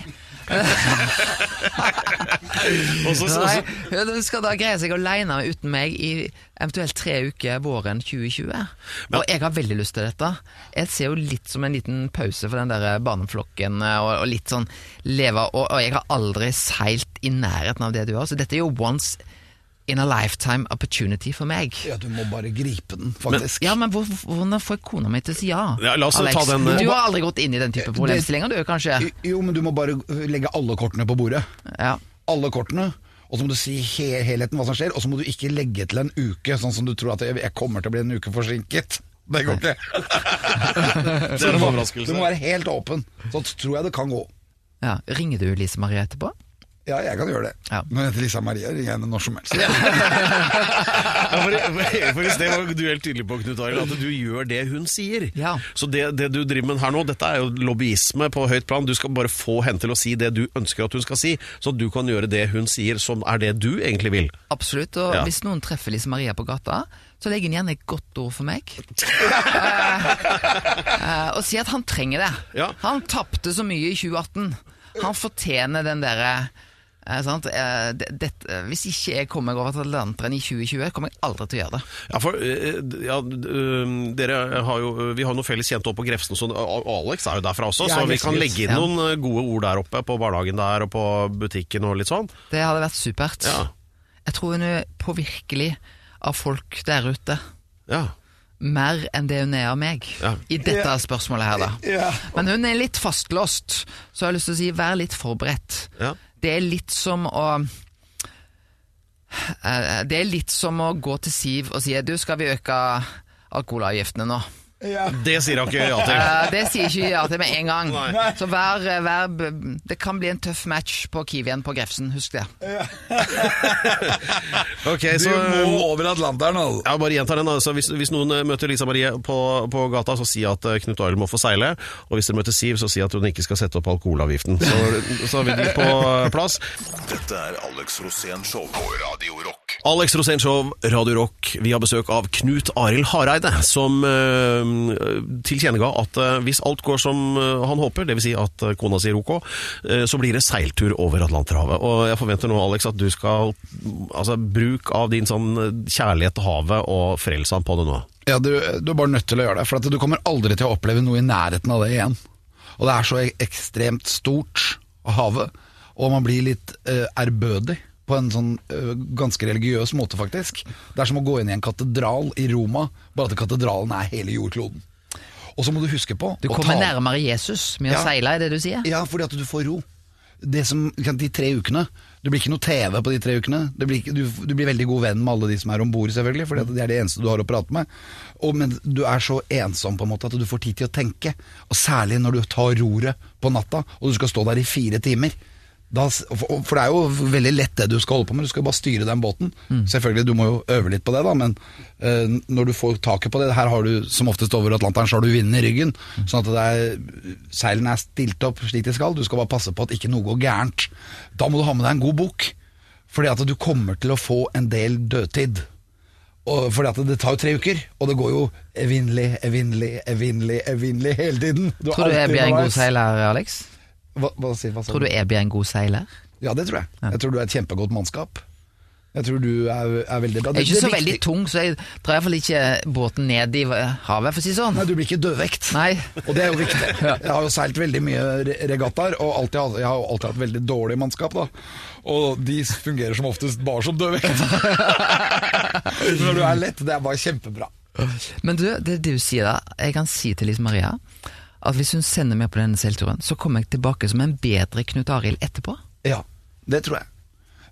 S3: Og så- så-
S1: Nei,
S3: så-
S1: Hun skal da greie seg aleine uten meg i eventuelt tre uker våren 2020. Og jeg har veldig lyst til dette. Jeg ser jo litt som en liten pause for den der barneflokken eh, og, og litt sånn leve og, og jeg har aldri seilt i nærheten av det du har, så dette er jo once in a lifetime opportunity for meg.
S4: Ja, Du må bare gripe den, faktisk.
S1: Ja, men hvor, hvor- hvordan får jeg kona mi til å si ja?
S3: Ja, la oss ta den, eh,
S1: Du har aldri gått inn i den type problemstillinger, du kanskje?
S4: Jo, men du må bare legge alle kortene på bordet.
S1: Ja.
S4: Alle kortene. Og så må du si he helheten hva som skjer, og så må du ikke legge til en uke, sånn som du tror at jeg, jeg kommer til å bli en uke forsinket. Det går ikke.
S3: Det er en
S4: Du må
S3: overraskelse.
S4: være helt åpen. Så tror jeg det kan gå.
S1: ja. Ringer du Lise Marie etterpå?
S4: Ja, jeg kan gjøre det.
S1: Ja.
S4: Men jeg heter Lisa Maria, ringer jeg henne når som helst.
S3: Ja, for, for- for i sted var du helt tydelig på Knut Arild, at du gjør det hun sier.
S1: Ja.
S3: Så det, det du driver med her nå, dette er jo lobbyisme på høyt plan. Du skal bare få henne til å si det du ønsker at hun skal si, så du kan gjøre det hun sier, som er det du egentlig vil.
S1: Absolutt. Og
S3: Ja.
S1: hvis noen treffer Lise Maria på gata, så legger hun gjerne et godt ord for meg. Eh, eh, og sier at han trenger det.
S3: Ja.
S1: Han tapte så mye i 2018. Han fortjener den derre eh, sant? Eh, det, dette- hvis ikke jeg kommer meg over Atlanteren i 2020, kommer jeg aldri til å gjøre det.
S3: Ja, for eh, d- ja, d- eh, dere har jo eh, Vi har noen felles kjente oppe på Grefsen, så og Alex er jo derfra også,
S4: Ja,
S3: så vi
S4: Alex
S3: kan
S4: Gus,
S3: legge inn
S1: ja.
S3: noen eh, gode ord der oppe på barnehagen der og på butikken og litt sånn.
S1: Det hadde vært supert.
S3: Ja.
S1: Jeg tror hun er påvirkelig av folk der ute.
S3: Ja.
S1: Mer enn det hun er av meg,
S3: Ja.
S1: i dette spørsmålet her, da.
S4: Ja.
S1: Men hun er litt fastlåst, så jeg har lyst til å si vær litt forberedt.
S3: Ja.
S1: Det er litt som å eh, Det er litt som å gå til Siv og si du, skal vi øke alkoholavgiftene nå?
S3: Det sier han ikke ja til.
S1: Eh, Det sier ikke ja til med en gang. Så vær, vær b- Det kan bli en tøff match på Kiwien på Grefsen, husk det.
S3: Ok,
S4: Du
S3: så
S1: eh,
S4: må over Atlanteren, altså.
S3: jeg bare gjentar den altså, hvis, hvis noen eh, møter Lisa Marie på, på gata, så si at eh, Knut Arild må få seile. Og hvis dere møter Siv, så si at hun ikke skal sette opp alkoholavgiften. Så, så har vi de på eh, plass.
S2: Dette er Alex Rosén Show på Radio Rock.
S3: Alex Rosénshow, Radio Rock. Vi har besøk av Knut Arild Hareide, som øh, tilkjennega at øh, hvis alt går som øh, han håper, dvs. Si at øh, kona sier ok, øh, så blir det seiltur over Atlanterhavet. Og jeg forventer nå, Alex, at du skal mm, Altså, bruk av din sånn øh, kjærlighet til havet og frels han på det nå.
S4: Ja, du, du er bare nødt til å gjøre det, for at du kommer aldri til å oppleve noe i nærheten av det igjen. Og det er så ek- ekstremt stort, havet, og man blir litt eh, ærbødig på en sånn eh, ganske religiøs måte, faktisk. Det er som å gå inn i en katedral i Roma, bare at katedralen er hele jordkloden. Og så må du huske på
S1: Du
S4: å
S1: kommer
S4: ta-
S1: nærmere Jesus med å
S4: Ja.
S1: seile, er det du sier?
S4: ja, fordi at du får ro. Det som, ikke sant, de tre ukene Det blir ikke noe TV på de tre ukene. Det blir ikke, du, du blir veldig god venn med alle de som er om bord, selvfølgelig, for det er det eneste du har å prate med. Og, men du er så ensom på en måte at du får tid til å tenke. Og særlig når du tar roret på natta, og du skal stå der i fire timer. Da, s- for for det er jo veldig lett det du skal holde på med, du skal bare styre den båten.
S1: Mm.
S4: Selvfølgelig, du må jo øve litt på det, da, men eh, når du får taket på det Her har du som oftest over Atlanteren, så har du vinden i ryggen.
S1: Mm.
S4: Sånn at det er, seilene er stilt opp slik de skal, du skal bare passe på at ikke noe går gærent. Da må du ha med deg en god bok, fordi at du kommer til å få en del dødtid. Og fordi at det tar jo tre uker, og det går jo evinnelig, evinnelig, evinnelig, evinnelig hele tiden. Du er
S1: Tror du jeg
S4: alltid
S1: blir en god
S4: underveis.
S1: seiler, Alex?
S4: Hva, hva, sier- hva sa
S1: Tror du jeg blir en god seiler?
S4: ja, det tror jeg. Jeg tror du er et kjempegodt mannskap. Jeg tror du er, er veldig bra.
S1: Jeg er
S4: Det-
S1: ikke så
S4: det
S1: veldig
S4: viktig-
S1: tung, så jeg drar iallfall ikke båten ned i havet, for å si det sånn.
S4: Nei, du blir ikke dødvekt.
S1: Nei.
S4: Og det er jo viktig. Jeg har jo seilt veldig mye re- regattaer, og alltid, hatt- jeg har jo alltid hatt veldig dårlig mannskap, da. Og de fungerer som oftest bare som dødvekt. Når du er lett, det er bare kjempebra.
S1: Men du, det du sier da, jeg kan si til Lise Maria at hvis hun sender meg på denne seilturen, så kommer jeg tilbake som en bedre Knut Arild etterpå.
S4: Ja, det tror jeg.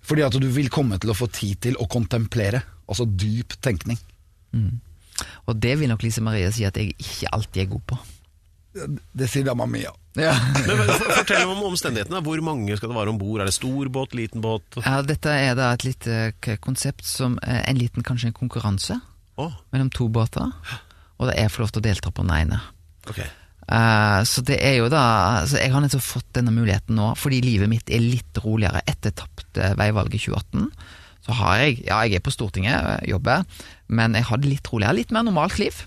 S4: Fordi at du vil komme til å få tid til å kontemplere, altså dyp tenkning.
S1: Og det vil nok Lise Marie si at jeg ikke alltid er god på.
S4: Det sier dama mi, ja.
S3: Men for- Fortell om omstendighetene. Hvor mange skal det være om bord? Er det stor båt, liten båt?
S1: Ja, dette er da et lite k- konsept som eh, en liten kanskje en konkurranse
S3: Å,
S1: mellom to båter, og der jeg får lov til å delta på den ene.
S3: ok.
S1: Eh, så det er jo da så Jeg har nettopp fått denne muligheten nå, fordi livet mitt er litt roligere etter tapt eh, veivalget i 2018. Så har jeg Ja, jeg er på Stortinget, eh, jobber, men jeg har det litt roligere. Litt mer normalt liv.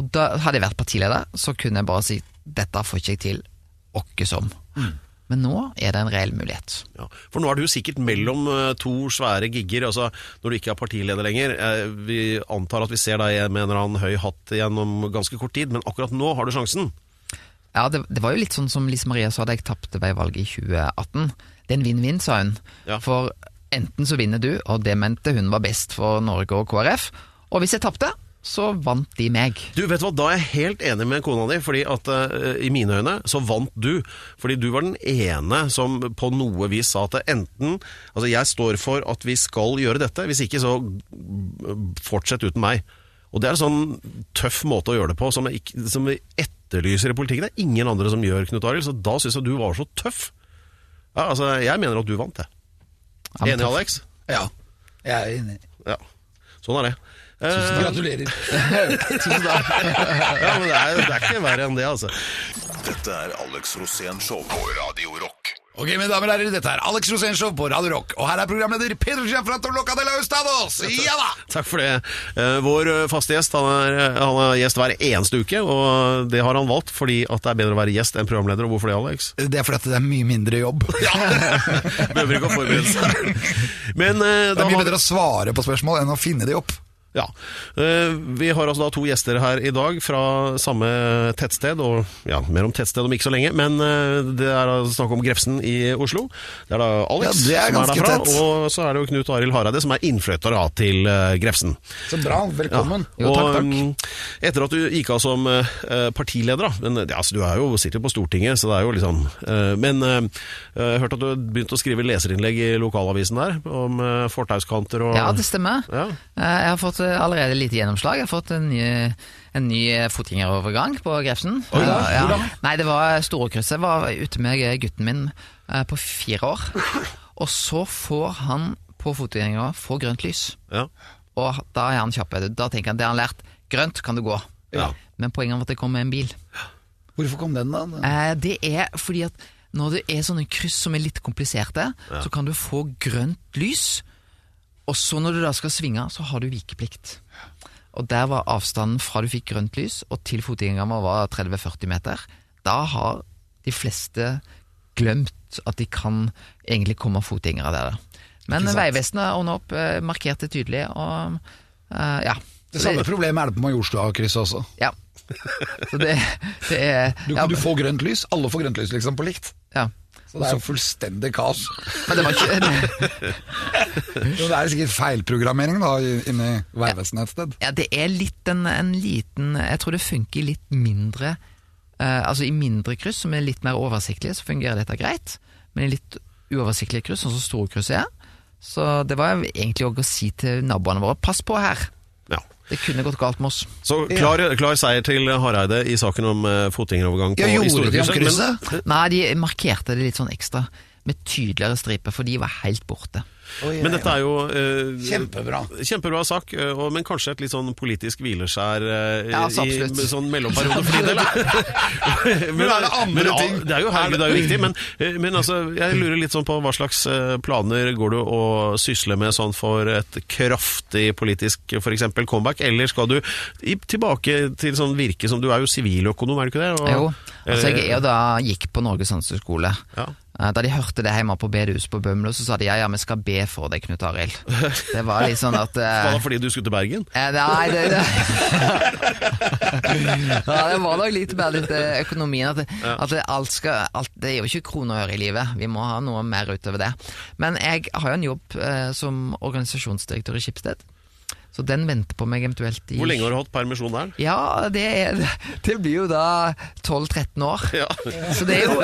S1: Og da hadde jeg vært partileder, så kunne jeg bare si dette får ikke jeg til åkke som. Men nå er det en reell mulighet.
S3: Ja. For nå er du sikkert mellom eh, to svære gigger, altså når du ikke er partileder lenger. Eh, Vi antar at vi ser deg med en eller annen høy hatt igjen om ganske kort tid, men akkurat nå har du sjansen.
S1: Ja, det, det var jo litt sånn som Lise Maria sa da jeg tapte veivalget i 2018. Det er en vinn-vinn, sa hun.
S3: Ja.
S1: For enten så vinner du, og det mente hun var best for Norge og KrF. Og hvis jeg tapte, så vant de meg.
S3: Du, vet du hva, Da er jeg helt enig med kona di, fordi at eh, i mine øyne så vant du. Fordi du var den ene som på noe vis sa at enten Altså, jeg står for at vi skal gjøre dette, hvis ikke så mm, fortsett uten meg. Og det er en sånn tøff måte å gjøre det på, som, jeg ikke, som vi etterlyser i politikken. Det er ingen andre som gjør, Knut Arild, så da syns jeg du var så tøff. Ja, altså, jeg mener at du vant, jeg.
S1: Ja, men
S3: Enig,
S1: tøff.
S3: Alex?
S4: Ja, jeg er enig.
S3: Ja. Sånn er det. Eh,
S4: Gratulerer.
S3: tusen takk. ja, men det er, det er ikke verre enn det, altså.
S2: Dette er Alex Rosén Show på Radio Rock.
S4: Ok, mine damer og herrer, dette er Alex Rosenshov på Radio Rock, og her er programleder Pedro Gianfranto Loca de la Ustados. Ja da!
S3: Takk for det. Eh, Vår eh, faste gjest han er, eh, han er gjest hver eneste uke, og det har han valgt fordi at det er bedre å være gjest enn programleder. Og hvorfor det, Alex?
S4: Det er fordi at det er mye mindre jobb.
S3: Behøver ikke å forberede seg. Men eh,
S5: Det
S3: da
S5: er mye
S3: har,
S5: bedre å svare på spørsmål enn å finne de opp.
S3: ja. Eh, vi har altså da to gjester her i dag fra samme tettsted, og ja, mer om tettsted om ikke så lenge. Men eh, det er da snakk om Grefsen i Oslo. Det er da Alex
S5: Ja, det
S3: som
S5: er
S3: er
S5: ganske
S3: derfra,
S5: tett.
S3: og så er det jo Knut Arild Hareide som er innflytter da til eh, Grefsen.
S4: Så bra, velkommen.
S3: Ja. Og um, etter at du gikk av som eh, partileder, da, men ja, altså, du er jo, sitter jo på Stortinget, så det er jo litt sånn eh, Men eh, jeg hørte at du begynte å skrive leserinnlegg i lokalavisen der, om eh, fortauskanter og
S1: Ja, det stemmer.
S3: Ja.
S1: Eh, Jeg har fått eh, allerede lite gjennomslag. Jeg har fått en ny, en ny eh, fotgjengerovergang på Grefsen.
S3: Oi, da.
S1: Eh, ja.
S3: Hvor da?
S1: Nei, det var Storekrysset. Jeg var ute med gutten min eh, på fire år. Og så får han på fotgjengere få grønt lys.
S3: Ja.
S1: Og da er han kjapp. Da tenker han det har han lært. Grønt kan du gå.
S3: Ja.
S1: Men poenget var at det kom med en bil.
S4: Hvorfor kom den, da?
S1: Eh, det er fordi at når det er sånne kryss som er litt kompliserte, så kan du få grønt lys. Og så når du da skal svinge, så har du vikeplikt. Og der var avstanden fra du fikk grønt lys og til fotgjengeren vår var 30-40 meter. Da har de fleste glemt at de kan egentlig komme fotgjengere der. Men Vegvesenet ordna opp, eh, markerte tydelig og eh, ja.
S4: Det samme problemet er det på Majorstua-krysset også.
S1: Ja. Så det, det er
S4: Du,
S1: ja,
S4: du får grønt lys, alle får grønt lys liksom på likt.
S1: ja.
S4: Så det er jo fullstendig kaos.
S1: Men det var ikke
S5: Jo, Det er sikkert feilprogrammering da, i- inni Vegvesenet et sted.
S1: Ja, det er litt en, en liten Jeg tror det funker i litt mindre eh, Altså i mindre kryss som er litt mer oversiktlige, så fungerer dette greit. Men i litt uoversiktlige kryss, sånn som store kryss er Så det var egentlig også å si til naboene våre pass på her.
S3: ja.
S1: Det kunne gått galt med oss.
S3: Så klar, klar seier til Hareide i saken om eh, fotgjengerovergang på
S4: Ja,
S3: i
S4: gjorde de om
S3: Storekrysset, men-
S4: krysset?
S1: Nei, de markerte det litt sånn ekstra. Med tydeligere striper, for de var helt borte.
S3: Men dette er jo eh,
S4: Kjempebra.
S3: Kjempebra sak, eh, og, men kanskje et litt sånn politisk hvileskjær eh,
S1: Ja, så
S3: i
S1: absolutt.
S3: med sånn mellomperiode for din del. men,
S5: er det andre
S3: men, ja,
S5: ting?
S3: Det er jo, herregud, det er jo viktig, men, eh, men altså, jeg lurer litt sånn på hva slags eh, planer går du å sysle med sånn for et kraftig politisk f.eks. comeback, eller skal du i, tilbake til sånn virke som Du er jo siviløkonom, er du ikke det? Og-
S1: Jo, altså jeg er
S3: Eh,
S1: jo da gikk på Norges Handelshøyskole.
S3: Ja.
S1: Eh, Da de hørte det hjemme på bedehuset på Bømlo, så sa de ja ja, vi skal be for deg, Knut Arild. Det var litt sånn at eh,
S3: var det fordi du skulle til Bergen?
S1: Eh, Nei, det, det. ja, det var nok litt mer litt eh, økonomien. At, det- at det alt skal alt, Det er jo ikke kroner og øre i livet. Vi må ha noe mer utover det. Men jeg har jo en jobb eh, som organisasjonsdirektør i Schibsted. Så den venter på meg eventuelt i
S3: Hvor lenge har du hatt permisjon der?
S1: Ja, det, er, det blir jo da 12-13 år. Så det er jo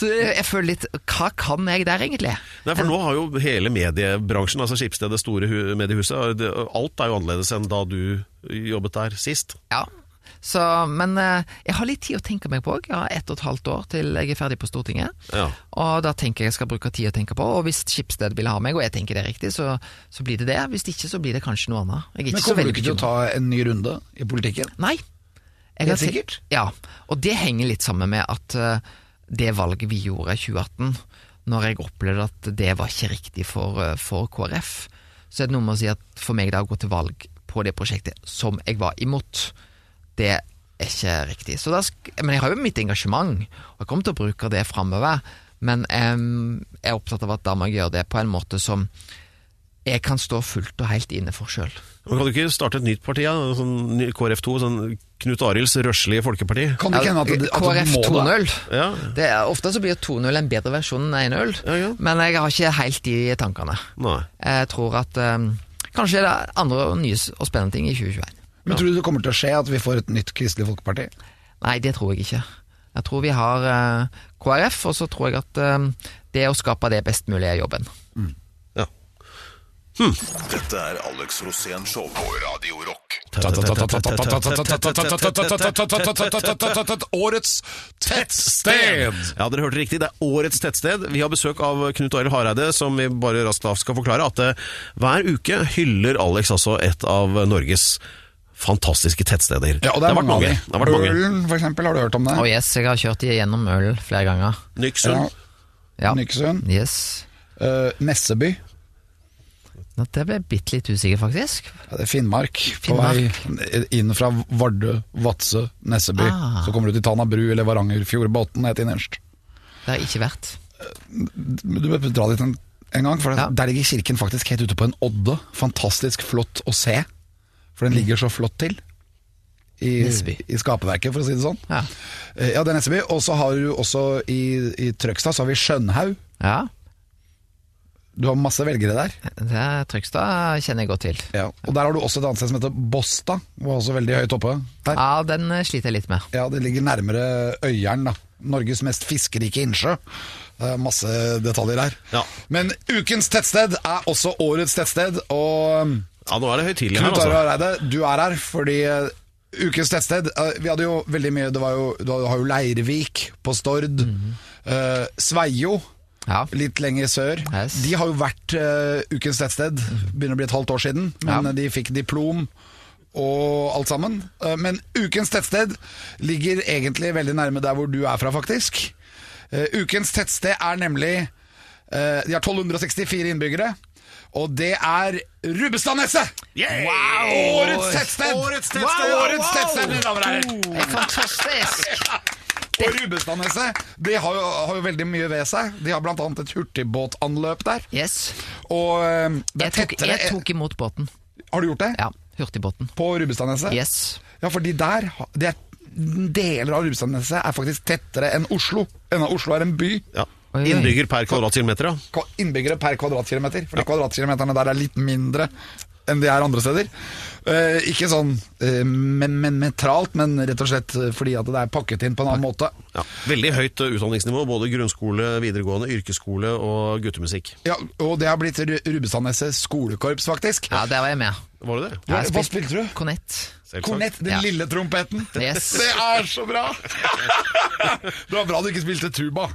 S1: Så det, jeg føler litt Hva kan jeg der, egentlig?
S3: Nei, for Nå har jo hele mediebransjen, altså Skipsted, det store hu- mediehuset, det- alt er jo annerledes enn da du jobbet der sist.
S1: Ja. Så, men eh, jeg har litt tid å tenke meg på. Jeg har ett og et halvt år til jeg er ferdig på Stortinget.
S3: Ja.
S1: Og da tenker jeg jeg skal bruke tid å tenke på. Og hvis Schibsted vil ha meg, og jeg tenker det er riktig, så, så blir det det. Hvis ikke, så blir det kanskje noe annet. Jeg er ikke
S4: Men
S1: så
S4: kommer du
S1: veldig
S4: ikke til å
S1: bekymret.
S4: ta en ny runde i politikken?
S1: Nei. Jeg har
S6: Helt
S1: tenkt-
S6: sikkert.
S1: Ja, og det henger litt sammen med at eh, det valget vi gjorde i 2018, når jeg opplevde at det var ikke riktig for, eh, for KrF, så er det noe med å si at for meg da å gå til valg på det prosjektet som jeg var imot, det er ikke riktig. Så da sk men jeg har jo mitt engasjement, og jeg kommer til å bruke det framover. Men em, jeg er opptatt av at da må jeg gjøre det på en måte som jeg kan stå fullt og helt inne for sjøl.
S3: Men Kan du ikke starte et nytt parti, da? Sånn ny- KrF2? Sånn Knut Arilds røslige folkeparti?
S6: Kan det ikke hende at, det- at
S1: KrF
S6: du må det?
S1: 2.0.
S3: Ja.
S1: Det er, ofte så blir 2-0 en bedre versjon enn 1-0,
S3: Ja, ja.
S1: men jeg har ikke helt de tankene.
S3: Nei.
S1: Jeg tror at ehm, kanskje det er andre og nye s- og spennende ting i 2021.
S6: Men tror du det kommer til å skje at vi får et nytt Kristelig Folkeparti?
S1: Nei, det tror jeg ikke. Jeg tror vi har eh, KrF, og så tror jeg at ehm, det å skape det best mulig er jobben.
S3: Ja.
S7: Dette er Alex Rosén Show på Radio Rock.
S4: Årets tettsted!
S3: Ja, dere hørte riktig. Det er årets tettsted. Vi har besøk av Knut Arild Hareide, som vi bare raskt av skal forklare at eh, hver uke hyller Alex altså et av Norges fantastiske tettsteder.
S4: Ja, og
S3: det har vært mange. Det har vært mange.
S4: Ølen, for eksempel, har du hørt om det?
S1: Og yes, jeg har kjørt gjennom øl flere ganger.
S3: Nyksund.
S1: Ja.
S4: Nyksund.
S1: Yes.
S4: Eh, Nesseby.
S1: Nå, Det ble jeg bitte litt usikker, faktisk.
S4: Ja, det er Finnmark,
S1: Finnmark.
S4: på vei inn fra Vardø, Vadsø, Nesseby.
S1: Ah.
S4: Så kommer du til Tana bru eller Varangerfjordbotn helt innerst.
S1: Det har jeg ikke vært.
S4: Men Du bør dra dit en, en gang, for
S1: Ja.
S4: der ligger kirken faktisk helt ute på en odde. Fantastisk flott å se, for den ligger så flott til. I,
S1: Nesseby.
S4: I skaperverket, for å si det sånn.
S1: Ja.
S4: Eh, ja det er Nesseby. Og så har du også i, i Trøgstad så har vi Skjønhaug.
S1: Ja,
S4: Du har masse velgere der.
S1: det er Trøgstad kjenner jeg godt til.
S4: Og der har du også et annet sted som heter Båstad. Var også veldig høyt oppe.
S3: Ah.
S4: Der.
S1: Ja, den eh, sliter jeg litt med.
S4: Ja, det ligger nærmere Øyeren, da. Norges mest fiskerike innsjø. Det er masse detaljer her.
S3: Ja.
S4: Men ukens tettsted er også årets tettsted, og um,
S3: Ja, nå er det høytidelig her,
S4: Knut Arild
S3: altså.
S4: Hareide, du er her fordi uh, ukens tettsted uh, Vi hadde jo veldig mye Det var jo, Du har jo Leirvik på Stord.
S3: Mhm.
S4: uh, Sveio.
S1: Ja.
S4: Litt lenger sør.
S1: Yes.
S4: De har jo vært eh, ukens tettsted, begynner å bli et halvt år siden,
S1: Ja.
S4: men eh, de fikk diplom og alt sammen. Eh, men ukens tettsted ligger egentlig veldig nærme der hvor du er fra, faktisk. Eh, ukens tettsted er nemlig eh, De har 1264 innbyggere, og det er Rubbestadneset! Årets tettsted!
S3: Årets tettsted!
S4: Wow, årets
S3: Wow!
S4: tettsted, mine damer og herrer!
S1: Det er fantastisk!
S4: Og Rubbestadneset de har, jo, har jo veldig mye ved seg. De har bl.a. et hurtigbåtanløp der.
S1: Yes.
S4: Og eh, det
S1: Jeg
S4: er
S1: tok,
S4: tettere Eh,
S1: jeg tok imot båten.
S4: Har du gjort det?
S1: Ja, Hurtigbåten.
S4: På Rubbestadneset?
S1: Yes.
S4: Ja, fordi der ha- det er, Deler av Rubbestadneset er faktisk tettere enn Oslo. Enda Oslo er en by.
S3: Ja.
S1: Oi, oi.
S3: Innbygger per kvadratkilometer, ja.
S4: Ka- Innbyggere per kvadratkilometer. For de kvadratkilometerne der er litt mindre enn de er andre steder. Eh, ikke sånn eh, men, men, metralt, men rett og slett eh, fordi at det er pakket inn på en annen måte.
S3: ja. Veldig høyt eh, utdanningsnivå. Både grunnskole, videregående, yrkesskole og guttemusikk.
S4: Ja, og det har blitt Ru- Rubbestadneset skolekorps, faktisk.
S1: Ja, der var jeg med.
S3: Var det det?
S1: Ja,
S4: Hva spilte du?
S1: Kornett.
S3: Selvsagt.
S4: Kornett, den
S1: Ja.
S4: lille trompeten.
S1: Yes.
S4: Det er så bra! Det var bra du ikke spilte tuba.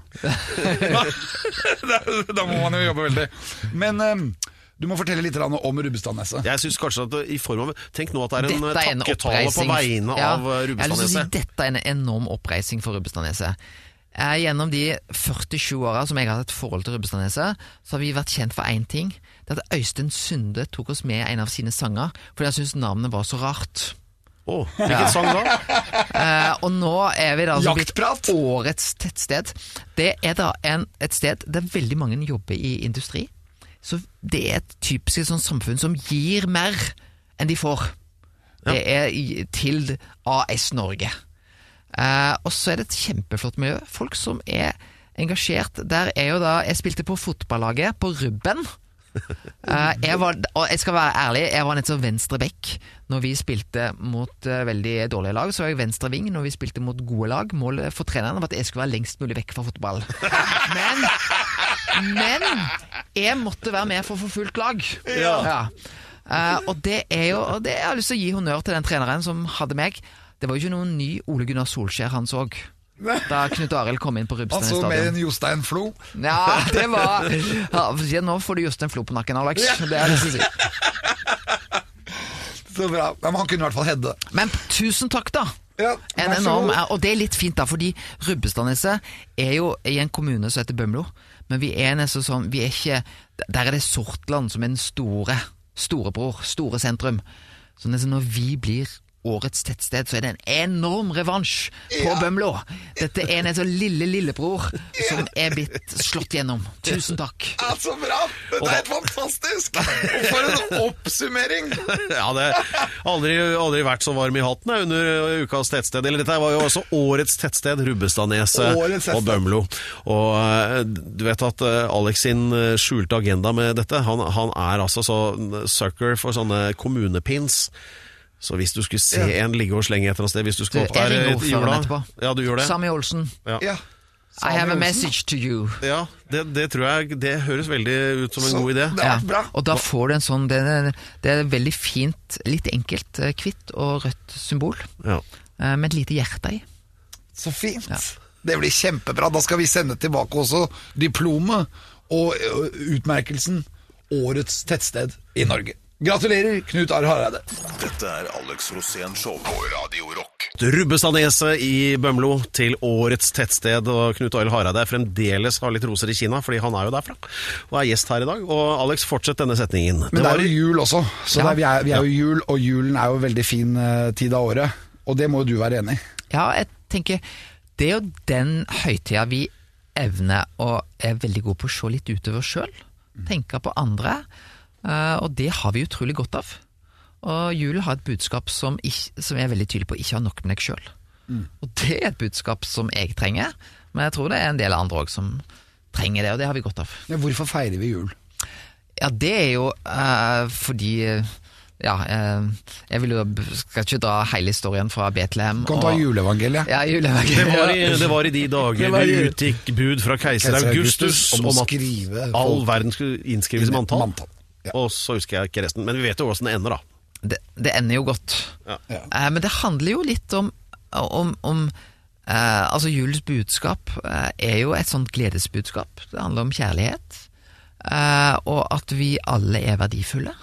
S4: Da- da må man jo jobbe veldig. Men em, du må fortelle litt grann om Rubbestadneset.
S3: Jeg synes kanskje at det, i form av Tenk nå at det er en
S1: Dette er en
S3: eh, takketale på
S1: oppreising.
S3: vegne
S1: Ja,
S3: av eh,
S1: jeg har lyst til å si
S3: Rubbestadneset.
S1: Dette er en enorm oppreising for Rubbestadneset. Eh, Gjennom de 47 åra som jeg har hatt et forhold til Rubbestadneset, så har vi vært kjent for én ting. Det er at Øystein Sunde tok oss med i en av sine sanger fordi han syntes navnet var så rart.
S3: Å, hvilken sang da?
S1: Eh, og nå er vi da altså blitt
S4: Jaktprat!
S1: årets tettsted. Det er da en, et sted der veldig mange jobber i industri. Så det er et typisk sånn samfunn som gir mer enn de får. Det er i- til AS Norge. Eh, og så er det et kjempeflott miljø. Folk som er engasjert. Der er jo da Jeg spilte på fotballaget på Rubben. Eh, jeg var, og jeg skal være ærlig, jeg var nettopp venstre back når vi spilte mot eh, veldig dårlige lag. Så var jeg venstre ving når vi spilte mot gode lag. Målet for treneren var at jeg skulle være lengst mulig vekk fra fotball. Men, men jeg måtte være med for å få fullt lag. Ja. Eh, og det er jo og det, Jeg har lyst til å gi honnør til den treneren som hadde meg. Det var jo ikke noen ny Ole Gunnar Solskjær han så. Da Knut Arild kom inn på Rubstad
S4: Altså med en Jostein Flo.
S1: ja, det var ja, for å si det, Nå får du just en flo på nakken, Alex. Det er det jeg skal si.
S4: Så bra. Ja, men han kunne i hvert fall hedde.
S1: Men tusen takk, da,
S5: Ja,
S1: En
S5: vær så
S1: enorm,
S5: god.
S1: og det er litt fint, da, fordi Rubbestadneset er jo i en kommune som heter Bømlo. Men vi er nesten sånn vi er ikke, Der er det Sortland som er den store storebror, store sentrum. Så nesten når vi blir årets tettsted, så er det en enorm revansj på Bømlo. Dette er en sånn lille lillebror som er blitt slått gjennom. Tusen takk.
S5: Ja, så bra! Dette er helt fantastisk! Og For en oppsummering!
S3: Ja, det aldri, aldri vært så varm i hatten jeg, under ø, ukas tettsted. Eller dette var jo også årets tettsted,
S5: Årets
S3: Rubbestadneset
S5: tettsted.
S3: og Bømlo. Og ø, du vet at ø, Alex sin ø, skjulte agenda med dette, han, han er altså så sucker for sånne kommunepins. Så hvis du skulle se en ligge og slenge et eller annet sted, hvis du skulle
S1: Jeg
S3: opp der ø,
S1: ringer
S3: i
S1: ordføreren
S3: jula
S1: etterpå.
S3: Ja, du gjør det?
S1: Sami Olsen,
S5: Ja.
S1: I have a
S5: Samuelsen.
S1: message to you.
S3: Ja, det, det tror jeg Det høres veldig ut som en
S5: Så
S3: god idé.
S5: Det har vært bra.
S1: Og da får du en sånn Det er, det er veldig fint, litt enkelt, eh, hvitt og rødt symbol.
S3: Ja.
S1: eh, Med et lite hjerte i.
S5: Så fint. Det blir kjempebra. Da skal vi sende tilbake også diplomet og ø, utmerkelsen Årets tettsted i Norge. Gratulerer, Knut Are Hareide.
S2: Dette er Alex Rosén Show på Radio Rock.
S3: Rubbestadneset i Bømlo til årets tettsted. Og Knut Arild Hareide er fremdeles har litt roser i Kina, fordi han er jo derfra. Og er gjest her i dag. Og Alex, fortsett denne setningen.
S5: Men
S3: Det
S5: det
S3: var-
S5: er jo jul også, så det er, vi, er, vi er jo jul, og julen er jo en veldig fin ø, tid av året. Og det må jo du være enig i.
S1: Ja, jeg tenker Det er jo den høytida vi evner og er veldig gode på å se litt utover sjøl. Tenke på andre. eh, Og det har vi utrolig godt av. Og julen har et budskap som, ikke, som jeg er veldig tydelig på ikke har nok med deg sjøl.
S5: Mm.
S1: Og det er et budskap som jeg trenger, men jeg tror det er en del andre òg som trenger det, og det har vi godt av.
S5: Men hvorfor feirer vi jul?
S1: Ja, det er jo eh, fordi eh, Ja, eh, jeg vil jo, skal ikke dra hele historien fra Betlehem.
S5: Du kan ta
S1: og-
S5: juleevangeliet.
S1: Ja, juleevangeliet.
S3: Det var, i, det var i de dager
S5: Det var i-
S3: det utgikk bud fra keiser
S5: Keiser
S3: Augustus
S5: Augustus om
S3: om
S5: å
S3: at
S5: skrive
S3: all
S5: folk-
S3: verden skulle innskrives i manntall.
S5: Manntall, ja.
S3: Og så husker jeg ikke resten. Men vi vet jo hvordan det ender, da.
S1: det, det ender jo godt.
S3: Ja.
S5: Ja.
S1: Eh, men det handler jo litt om, om, om eh, Altså, julens budskap eh, er jo et sånt gledesbudskap. Det handler om kjærlighet, eh, og at vi alle er verdifulle.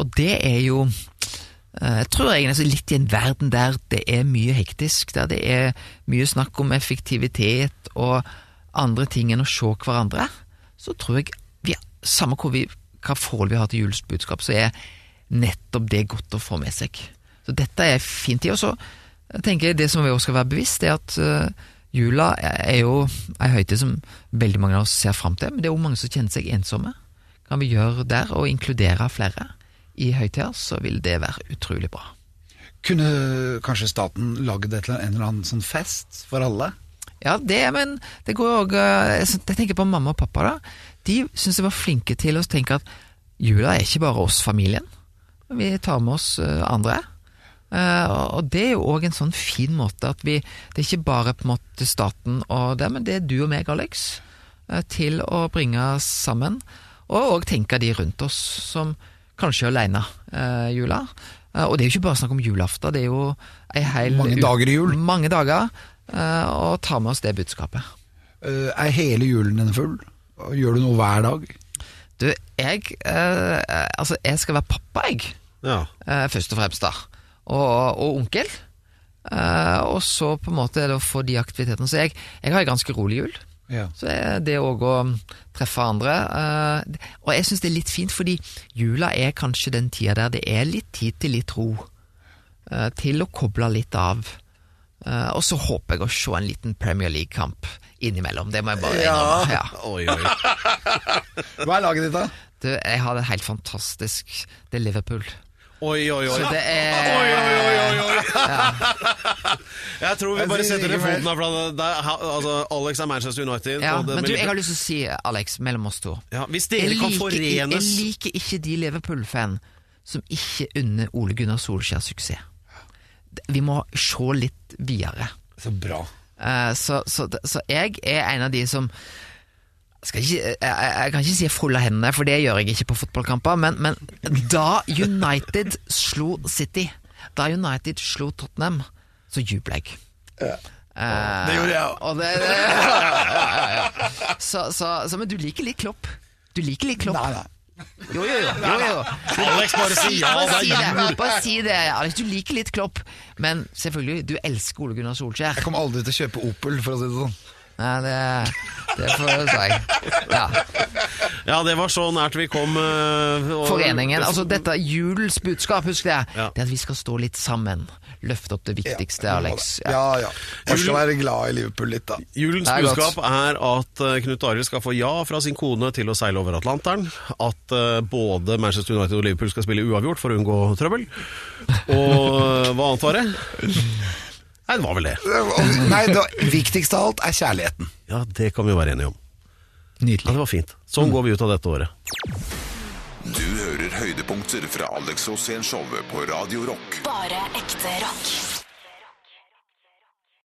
S1: Og det er jo eh, jeg tror jeg er nesten litt i en verden der det er mye hektisk, der det er mye snakk om effektivitet og andre ting enn å se hverandre, så tror jeg vi, samme hvor vi, hva forhold vi har til julens budskap, så er nettopp det godt å få med seg. Så dette er fint. Og så tenker jeg det som vi også skal være bevisst, er at eh, jula er jo ei høytid som veldig mange av oss ser fram til, men det er jo mange som kjenner seg ensomme. Kan vi gjøre der, og inkludere flere i høytida, så vil det være utrolig bra.
S5: Kunne kanskje staten lagd et eller annet- en eller annen sånn fest for alle?
S1: Ja, det, men det går jo òg Jeg tenker på mamma og pappa, da. De syns jeg var flinke til å tenke at jula er ikke bare oss familien. Vi tar med oss eh, andre. Eh, og- og det er jo òg en sånn fin måte at vi Det er ikke bare på en måte staten og det, men det er du og meg, Alex, eh, til å bringe oss sammen. Og òg tenke de rundt oss som kanskje er aleine eh, jula. Eh, og det er jo ikke bare snakk om julaften, det er jo ei hel
S5: Mange
S1: u-
S5: dager i jul.
S1: Mange dager. eh, og ta med oss det budskapet.
S5: Eh, er hele julen din full? Og Gjør du noe hver dag?
S1: Du, jeg eh, Altså, jeg skal være pappa, jeg.
S3: Ja.
S1: eh, først og fremst, da. Og, og onkel. Eh, og så på en måte er det å få de aktivitetene. Så jeg, jeg har en ganske rolig jul.
S5: Ja.
S1: Så er det òg å treffe andre. eh, og jeg syns det er litt fint, fordi jula er kanskje den tida der det er litt tid til litt ro. eh, til å koble litt av. Eh, og så håper jeg å se en liten Premier League-kamp innimellom. Det må jeg bare innrømme. Ja.
S3: Oi, oi.
S5: Hva er laget ditt, da?
S1: Du, jeg har det helt fantastisk. Det er Liverpool.
S3: Oi, oi, oi.
S1: Så det
S3: Oi,
S1: er
S3: oi, oi, oi, oi. Jeg tror vi
S5: Jeg
S3: bare
S5: sier
S3: setter
S5: ikke
S3: ned foten
S5: mer.
S3: her. for det- det er- Altså, Alex er Manchester United.
S1: ja,
S3: og det-
S1: Men du, jeg har lyst til å si, Alex, mellom oss to
S3: ja, Hvis
S1: Jeg
S3: dere kan
S1: liker, i- jeg
S3: forenes
S1: liker ikke de Liverpool-fan som ikke unner Ole Gunnar Solskjær suksess. Vi må se litt videre.
S5: Så bra.
S1: Eh, så, så, så jeg er en av de som skal ikke, jeg, jeg jeg kan ikke si jeg folder hendene, for det gjør jeg ikke på fotballkamper, men, men da United slo City, da United slo Tottenham, så jubla jeg. Eh,
S5: Det gjorde jeg også.
S1: og det- det- ja, ja, ja, ja. Så, så, så, men du liker litt Klopp. Du liker litt Klopp.
S5: Nei, nei.
S1: Jo, jo, jo. jo, jo.
S3: Alex bare sier ja,
S1: Bare
S3: det
S1: si
S3: er
S1: det.
S3: jul.
S1: Bare si det. Alex, du liker litt Klopp, men selvfølgelig, du elsker Ole Gunnar Solskjær.
S4: Jeg kommer aldri til å kjøpe Opel, for å si det sånn.
S1: Nei, det, det får jeg si. Ja.
S3: Ja, det var så nært vi kom. eh, og-
S1: Foreningen. Altså dette er julens budskap, husk det.
S3: Ja.
S1: Det er at vi skal stå litt sammen. Løfte opp det viktigste, Alex. Ja.
S5: Ja, ja. Jeg skal være glad i Liverpool litt, da.
S3: Julens
S1: Det er godt.
S3: budskap er at eh, Knut Arild skal få ja fra sin kone til å seile over Atlanteren. At eh, både Manchester United og Liverpool skal spille uavgjort for å unngå trøbbel. Og eh, hva annet var det? Nei, det var vel det.
S5: Nei, det viktigste av alt er kjærligheten.
S3: Ja, det kan vi jo være enige om. Ja,
S1: Nydelig. Mm.
S3: det var fint. Sånn går vi ut av dette året.
S2: Du hører høydepunkter fra Alex Rosén-showet på Radio Rock.
S8: Bare ekte rock.